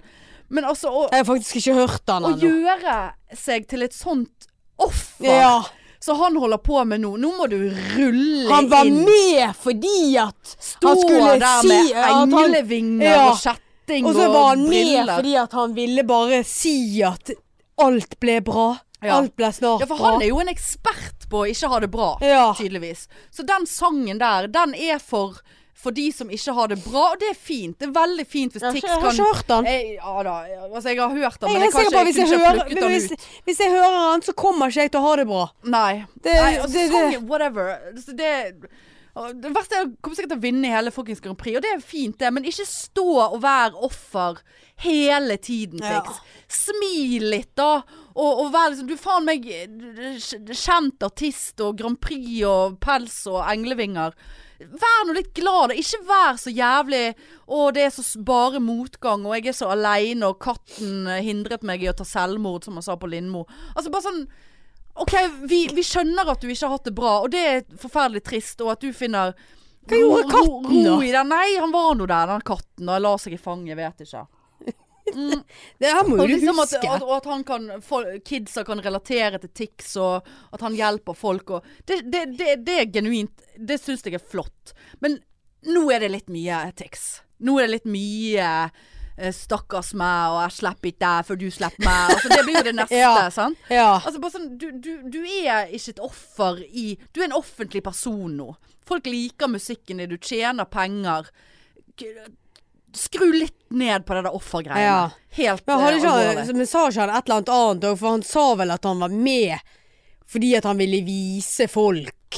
Men altså, å,
Jeg har faktisk ikke hørt den
å
ennå.
gjøre seg til et sånt offer
Ja,
så han holder på med nå. Nå må du rulle
han var
inn.
med fordi at
Stå
han skulle
der
si
med
at han-
englevinger
Ja.
og kjetting og
Og så var han med
briller.
fordi at han ville bare si at alt ble bra.
Ja.
Alt ble snart
ja, for
bra.
han er jo en ekspert på å ikke ha det bra,
Ja.
tydeligvis. Så den sangen der, den er for, for de som ikke har det bra, og det er fint. Det er veldig fint hvis
Jeg har
Tix
ikke-
kan
jeg har ikke hørt den.
Jeg, ja da, altså jeg har hørt den,
Jeg
men
er
jeg
helt
kan
sikker
ikke,
på at
jeg
hvis jeg,
kunne ikke ha
hører,
plukket
men
den
hvis,
ut.
hvis jeg hører han, så kommer ikke jeg til å ha det bra.
Nei.
Det-
Nei altså,
det- det-
sangen, whatever. Altså, Det, og det verste er å komme sikkert til å vinne i hele fuckings Grand Prix, og det er fint, det, men ikke stå og være offer hele tiden,
Ja.
Tix. Smil litt, da. Og, og vær liksom Du er faen meg eh, kjent artist og Grand Prix og pels og englevinger. Vær nå litt glad, da. Ikke vær så jævlig 'Å, det er så s- bare motgang', og 'jeg er så aleine', og 'katten eh, hindret meg i å ta selvmord', som han sa på Lindmo. Altså bare sånn OK, vi, vi skjønner at du ikke har hatt det bra, og det er forferdelig trist, og at du finner Hva
gjorde katten da?
Ro i den. Nei, han var nå der, den katten. Og la seg i fanget, vet ikke.
Det her må
Og,
jo du
liksom at,
huske.
at, og at han kan fol- kidsa kan relatere til Tix, og at han hjelper folk og Det, det, det, det er genuint. Det syns jeg er flott. Men nå er det litt mye Tix. Nå er det litt mye eh, 'stakkars meg', og 'jeg slipper ikke deg før du slipper meg'. Altså, det blir jo det neste,
Ja.
sant?
ja.
Altså bare sånn, du, du, du er ikke et offer i Du er en offentlig person nå. Folk liker musikken din, du tjener penger. K- Skru litt ned på det der offergreiene.
Ja.
Helt
Men, hadde
eh,
ikke han,
alvorlig.
men sa ikke han et eller annet annet òg? For han sa vel at han var med fordi at han ville vise folk.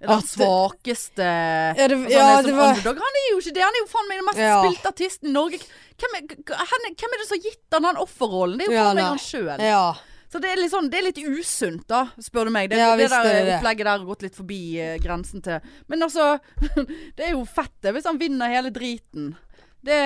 Den
at-
svakeste
Ja, det-
altså, han
ja,
er som
det var-
underdog. Han er jo ikke det. Han er jo faen meg den mest
Ja.
spilte artisten i Norge. Hvem er, g- han er, hvem er det som har gitt han den offerrollen? Det er jo
Ja,
faen meg
nei.
han sjøl.
Ja.
Så det er litt, sånn, det er litt usunt, da, spør du meg. Det,
Ja,
det
visst
der
er det det.
opplegget der har gått litt forbi eh, grensen til Men altså, det er jo fett det hvis han vinner hele driten. Det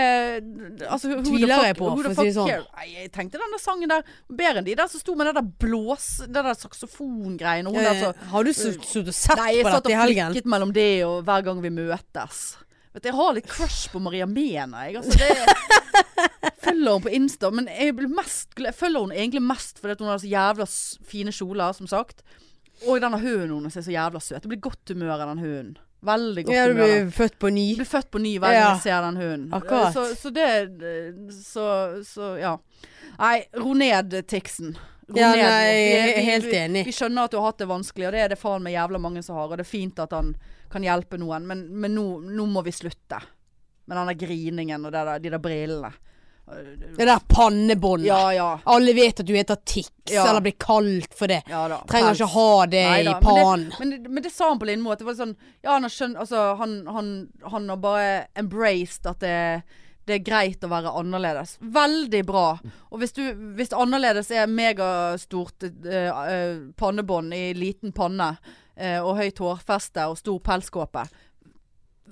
altså, who the
Tviler
fuck-
jeg på,
who the
for å si det
fuck
sånn.
care? Nei, jeg tenkte denne sangen der bedre enn de der som sto med det der blås... Det der saksofongreiene. og Hun der
Eh,
som
Har du suttet og sett
Nei, jeg
på
satt
dette
og
i helgen?
flikket mellom det og hver gang vi møtes. Vet du, jeg har litt crush på Maria Mena, jeg. Altså, det følger hun på Insta, men jeg, blir mest, gl- jeg følger hun egentlig mest fordi at hun har så jævla s- fine kjoler, som sagt. Og denne hunden hennes er så jævla søt. Det blir godt humør av den hunden. Veldig godt
Ja, du
humør.
ble født på ny.
Du blir født på ny hver gang
Ja.
jeg ser den hunden.
Akkurat.
Så, så det så, så ja. Nei, ro ned, Tixen. Ro
Ja,
ned.
nei, jeg
Vi-
er
vi-
helt
vi-
enig.
Vi skjønner at du har hatt det vanskelig, og det er det faen meg jævla mange som har. Og det er fint at han kan hjelpe noen, men, men nå, nå må vi slutte. Med den der griningen og det der, de der brillene.
Det der pannebåndet.
Ja ja.
Alle vet at du heter Tix,
Ja.
eller blir kalt for det.
ja da.
Trenger
Pels.
ikke ha det
Neida,
Eh, i pannen.
Men, det- men, det- men det sa han på Lindmo. At det var sånn Ja, han har skjønt Altså, han, han, han har bare embraced at det, det er greit å være annerledes. Veldig bra. Og hvis, du, hvis annerledes er megastort eh, eh, pannebånd i liten panne eh, og høyt hårfeste og stor pelskåpe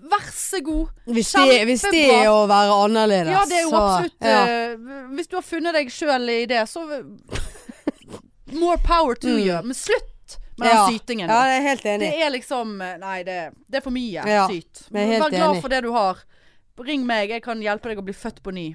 Vær så god.
Hvis det, hvis det er å være annerledes,
Ja, det er jo
så-
absolutt
ja.
eh, Hvis du har funnet deg sjøl i det, så More power to you. Men slutt med den
Mm. Ja.
sytingen.
Ja, jeg er helt enig.
Det er liksom Nei, det, det er for mye
Ja,
syt.
jeg er helt
Vær glad
enig.
for det du har. Ring meg, jeg kan hjelpe deg å bli født på ny.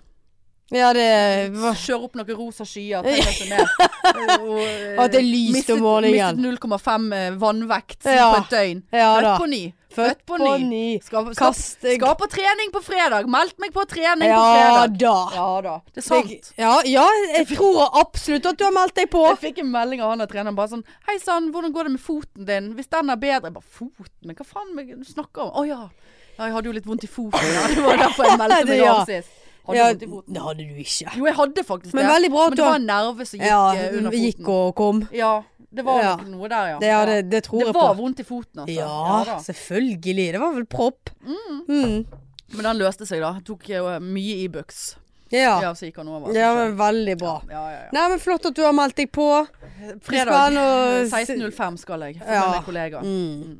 Ja, det var
Kjør opp noen rosa skyer. tenk at det er mer. Og, eh,
Og at det er lyst om
mistet-
morgenen.
Mistet 0,5 eh, vannvekt
Ja.
på et døgn.
Ja
født
da.
på ny.
Født på ny.
Skal, skal,
Kast
skal på trening på fredag. Meldt meg på trening på
Ja
fredag.
da.
Ja da. Det er sant.
Ja, ja, jeg tror absolutt at du har meldt deg på.
Jeg fikk en melding av han og treneren bare sånn Hei sann, hvordan går det med foten din? Hvis den er bedre Jeg bare Foten? Hva faen meg, du snakker om? Å ja. ja. Jeg hadde jo litt vondt i foten. Ja. Det var derfor jeg meldte meg
Ja.
av sist. Hadde
Ja,
vondt i foten.
det hadde du ikke.
Jo, jeg hadde faktisk det.
Men veldig bra at
Men
du
det var
har-
en nerve som gikk
Ja,
eh, under foten.
gikk og kom.
Ja. Det var
Ja.
nok noe der, ja.
Det, ja, det, det tror
Det
jeg
var
på.
vondt i foten, altså.
Ja,
da.
selvfølgelig. Det var vel propp. Mm.
Men den løste seg, da. Tok jo eh, mye Ibux.
Ja.
Ja, altså, så gikk han over. så
ja
skjønner
men veldig bra.
jeg. ja, ja, ja.
Nei, men flott at du har meldt deg på.
Fredag Eh,
Spennende å se-
16.05 skal jeg. For
Ja.
med kollega.
Mm.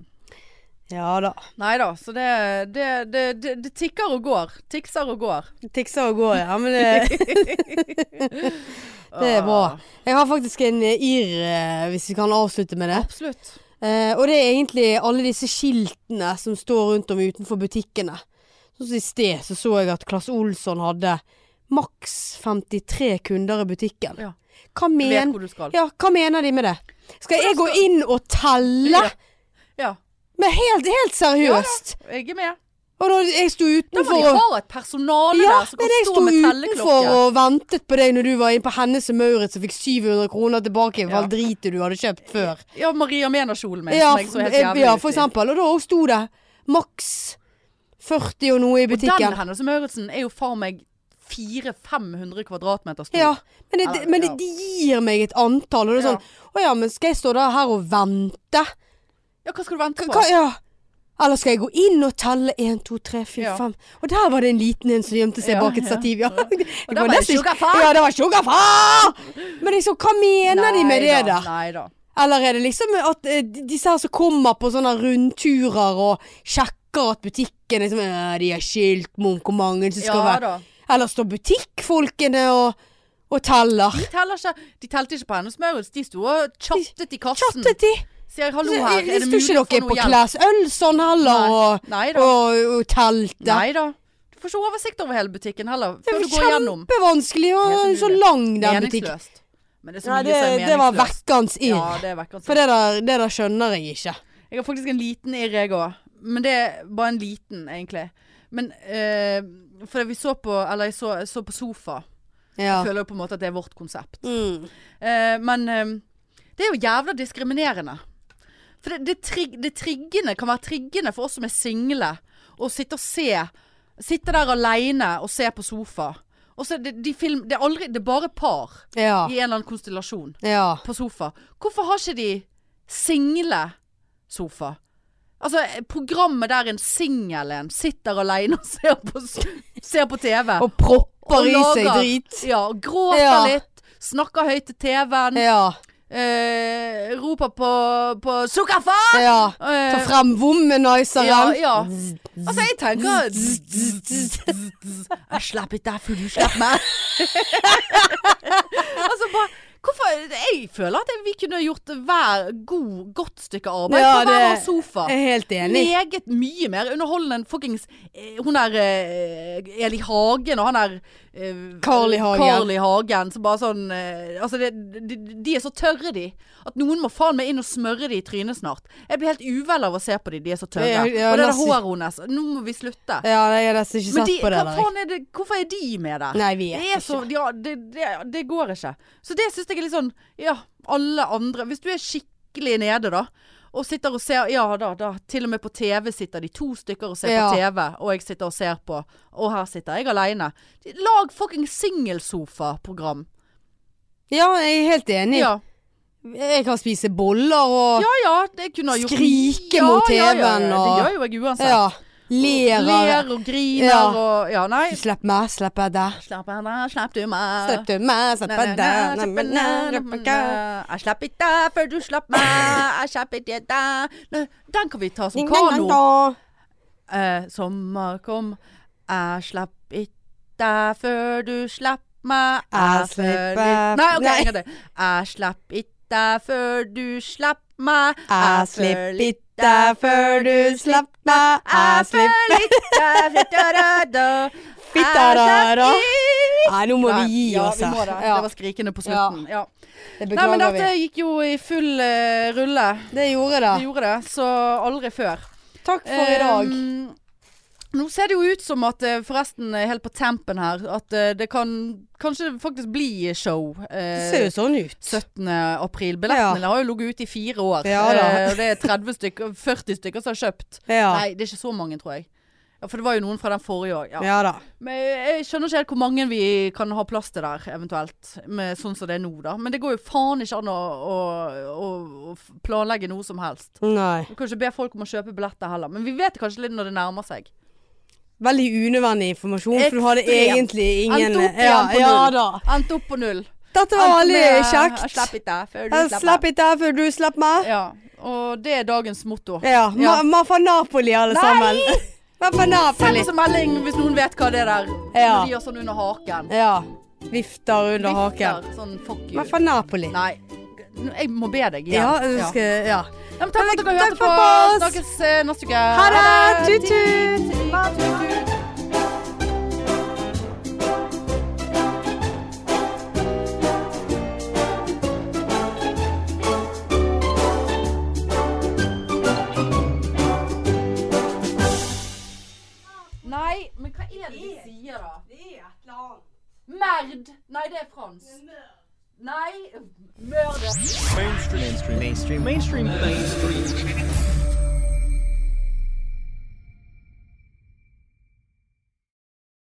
Ja da.
Nei da, så det, det, det, det, det tikker og går. Tikser og går.
Det Tikser og går, ja. Men det, det er bra.
Ah,
Jeg har faktisk en eh, irr, eh, hvis vi kan avslutte med det.
Absolutt.
Eh, og det er egentlig alle disse skiltene som står rundt om utenfor butikkene. Sånn som I sted så, så jeg at Klass Olsson hadde maks 53 kunder i butikken.
Ja.
Hva,
Du vet
men,
hvor du skal.
ja, hva mener de med det? Skal jeg
Hvordan
gå inn og telle?
Ja. Ja.
Men helt, helt seriøst!
Jeg er med.
Og når jeg sto
Da må de
utenfor og
ha et personale
ja,
der som
men
kan
jeg
stå
sto
med
utenfor
telleklokke.
og ventet på deg når du var inne på Hennes og Maurits og fikk 700 kroner tilbake i
Ja.
all dritet du hadde kjøpt før.
Ja, Maria Mena-kjolen min,
Ja,
som jeg så helt
eh,
jævlig
ja,
ut
for
i.
eksempel. Og da sto det maks 40 og noe i
Den
butikken.
Hennes Mauritsen er jo faen meg 400-500 kvadratmeter stor.
Ja, men det,
Eller,
men det
ja.
de gir meg et antall, og det
Ja.
er sånn Å ja, men skal jeg stå da her og vente?
Ja, hva skal du vente på?
Hva, ja. Eller skal jeg gå inn og telle 1, 2, 3, 4,
Ja.
5 Og der var det en liten en som gjemte seg
Ja,
bak et
ja.
stativ, ja.
Og der var det sugarfar!
Ja, det var sugarfar! Men liksom, hva mener de med det
Neida,
der?
neida.
Eller er det liksom at eh, de- disse her som kommer på sånne rundturer og sjekker at butikken liksom, eh, De har skilt med om hvor mange som skal
Ja
være
da.
Eller står butikkfolkene og, og teller.
De teller ikke. De telte ikke på Hennes Maurits. De sto og chattet i kassen.
Chattet de?
Sier hallo
Så,
her,
eh,
er det
sto
mulig
ikke
å få
dere
noe
på
hjelp?
Class Ølson heller og,
Nei da.
og, og telte?
Nei da. Du får ikke oversikt over hele butikken heller
Det
før
var
du går gjennom.
kjempevanskelig og
Helt
så
umulig.
lang den butikken.
Meningsløst. Men det er så
Nei,
mye
det,
som er
det var
meningsløst.
vekkans irr.
Ja, det er vekkende.
For det der, det der skjønner jeg ikke.
Jeg har faktisk en liten irr, jeg òg. Men det er bare en liten, egentlig. Men eh, For vi så på Eller jeg så, så på Sofa.
Ja.
Føler jo på en måte at det er vårt konsept.
Mm.
Eh, men eh, det er jo jævla diskriminerende. For det, det, trig, det triggende kan være triggende for oss som er single, å sitte og se. Sitte der aleine og se på sofa. Og så er det, de film, det, er aldri, det er bare par
Ja.
i en eller annen konstellasjon
ja.
på sofa. Hvorfor har ikke de single-sofa? Altså, programmet der en singel en sitter aleine og ser på, s- ser på TV.
Og propper
Og
i seg
lager.
drit.
ja, og gråter
Ja.
litt. Snakker høyt til TV-en.
Ja.
Eh, roper på, på sukkerfar!
ja. Ta
Eh,
frem womanizeren.
Ja, ja. altså, jeg tenker Jeg slapp ikke deg før du slapp meg. altså, bare Hvorfor Jeg føler at vi kunne gjort hver god, godt stykke arbeid
Ja,
på hver
det-
vår sofa.
Jeg er helt enig.
Meget mye mer underholdende enn fuckings eh, hun der eh, Eli Hagen og han der eh,
Carl I. Hagen.
Carl I. Hagen. Som bare sånn eh, Altså, det, de, de er så tørre, de. At noen må faen meg inn og smøre de i trynet snart. Jeg blir helt uvel av å se på de. De er så tørre.
Ja, ja,
og det der
nesten-
håret hennes. Nå må vi slutte.
Ja, nei, jeg har nesten ikke
Men
sett
de,
på det
hva
der. jeg.
faen er det, hvorfor er de med der?
Nei, vi
Det, er
vet
så,
ikke.
ja, det, det, det går ikke. Så det syns jeg er litt sånn Ja, alle andre Hvis du er skikkelig nede, da, og sitter og ser Ja da, da. Til og med på TV sitter de to stykker og ser
Ja.
på TV, og jeg sitter og ser på, og her sitter jeg aleine. Lag fucking singelsofa-program.
Ja, jeg er helt enig.
Ja.
Jeg kan spise boller og
ja ja, det kunne ha gjort
Skrike
Ja,
mot
ja, ja, ja,
TV-en og-
Det gjør jo jeg uansett.
ja. Ler av
Ler og griner
Ja.
og Ja, nei.
Slipp meg, slipp jeg deg.
Slapp henne, slapp du meg.
Slipp du meg, slipp jeg deg.
Slapp meg ned, slapp meg ned. Jeg slapp ikke deg før du slapp meg. Jeg slapp ikke deg Nei, Den kan vi ta som kano. Eh, sommer kom, jeg slapp ikke deg før du slapp meg. føler-
Jeg slipper-
Nei, ok,
Nei.
en gang til. Jeg slapp ikke deg før du slapp meg.
Jeg
føler
slipper ikke deg før du slapp meg. Jeg slipper
Fitta-da-da.
Fitta-da-da. Nei, nå må vi gi
ja,
oss
vi må
her.
det.
Ja,
Det var skrikende på slutten. Ja.
det
Nei, men
beklager
dette gikk jo i full eh, rulle.
vi. Det gjorde
Vi
det.
gjorde det, så aldri før.
Takk Ah. for i dag.
Ehm, nå ser det jo ut som at eh, forresten eh, helt på tampen her, at eh, det kan kanskje faktisk bli show.
Det
eh,
ser jo sånn ut.
17. april. Billettene har jo ligget ute i fire år.
Ja da.
Eh, og det er 30 stykker, 40 stykker som har kjøpt.
Ja.
Nei, det er ikke så mange, tror jeg. Ja, For det var jo noen fra den forrige òg. Ja.
ja da.
Men jeg skjønner ikke helt hvor mange vi kan ha plass til der, eventuelt. Med sånn som det er nå, da. Men det går jo faen ikke an å, å, å, å f- planlegge noe som helst.
Nei.
Du kan ikke be folk om å kjøpe billetter heller. Men vi vet kanskje litt når det nærmer seg.
Veldig unødvendig informasjon, for du hadde
Ekstremt.
egentlig ingen
Endte opp igjen
ja,
på
ja
null.
da.
Endte opp på null.
Dette var
Endte
veldig
med, «Jeg
kjekt.
Slapp ikke før du
Jeg Slapp
slipper.
ikke deg før du slipper meg.
Ja. Og det er dagens motto.
Ja. Ma
Ja.
Maffa Napoli, alle
Nei!
sammen. Maffa
Send
Napoli.
oss en melding hvis noen vet hva det der
Ja.
De gjør sånn under haken.
Ja. Vifter under haken.
Vifter, Sånn fuck you.
Maffa Napoli.
Nei. Jeg må be deg igjen.
Ja, jeg skal Ja.
Ja, men takk for at dere
Takk
hørte
for
på.
oss.
Snakkes eh, neste uke.
Ha det! Tut-tut!
Tut-tut. Nei, men hva er det de sier da?
Det er et eller annet.
Merd! Nei, det er fransk. Nei, mørder.
mainstream mainstream mainstream mainstream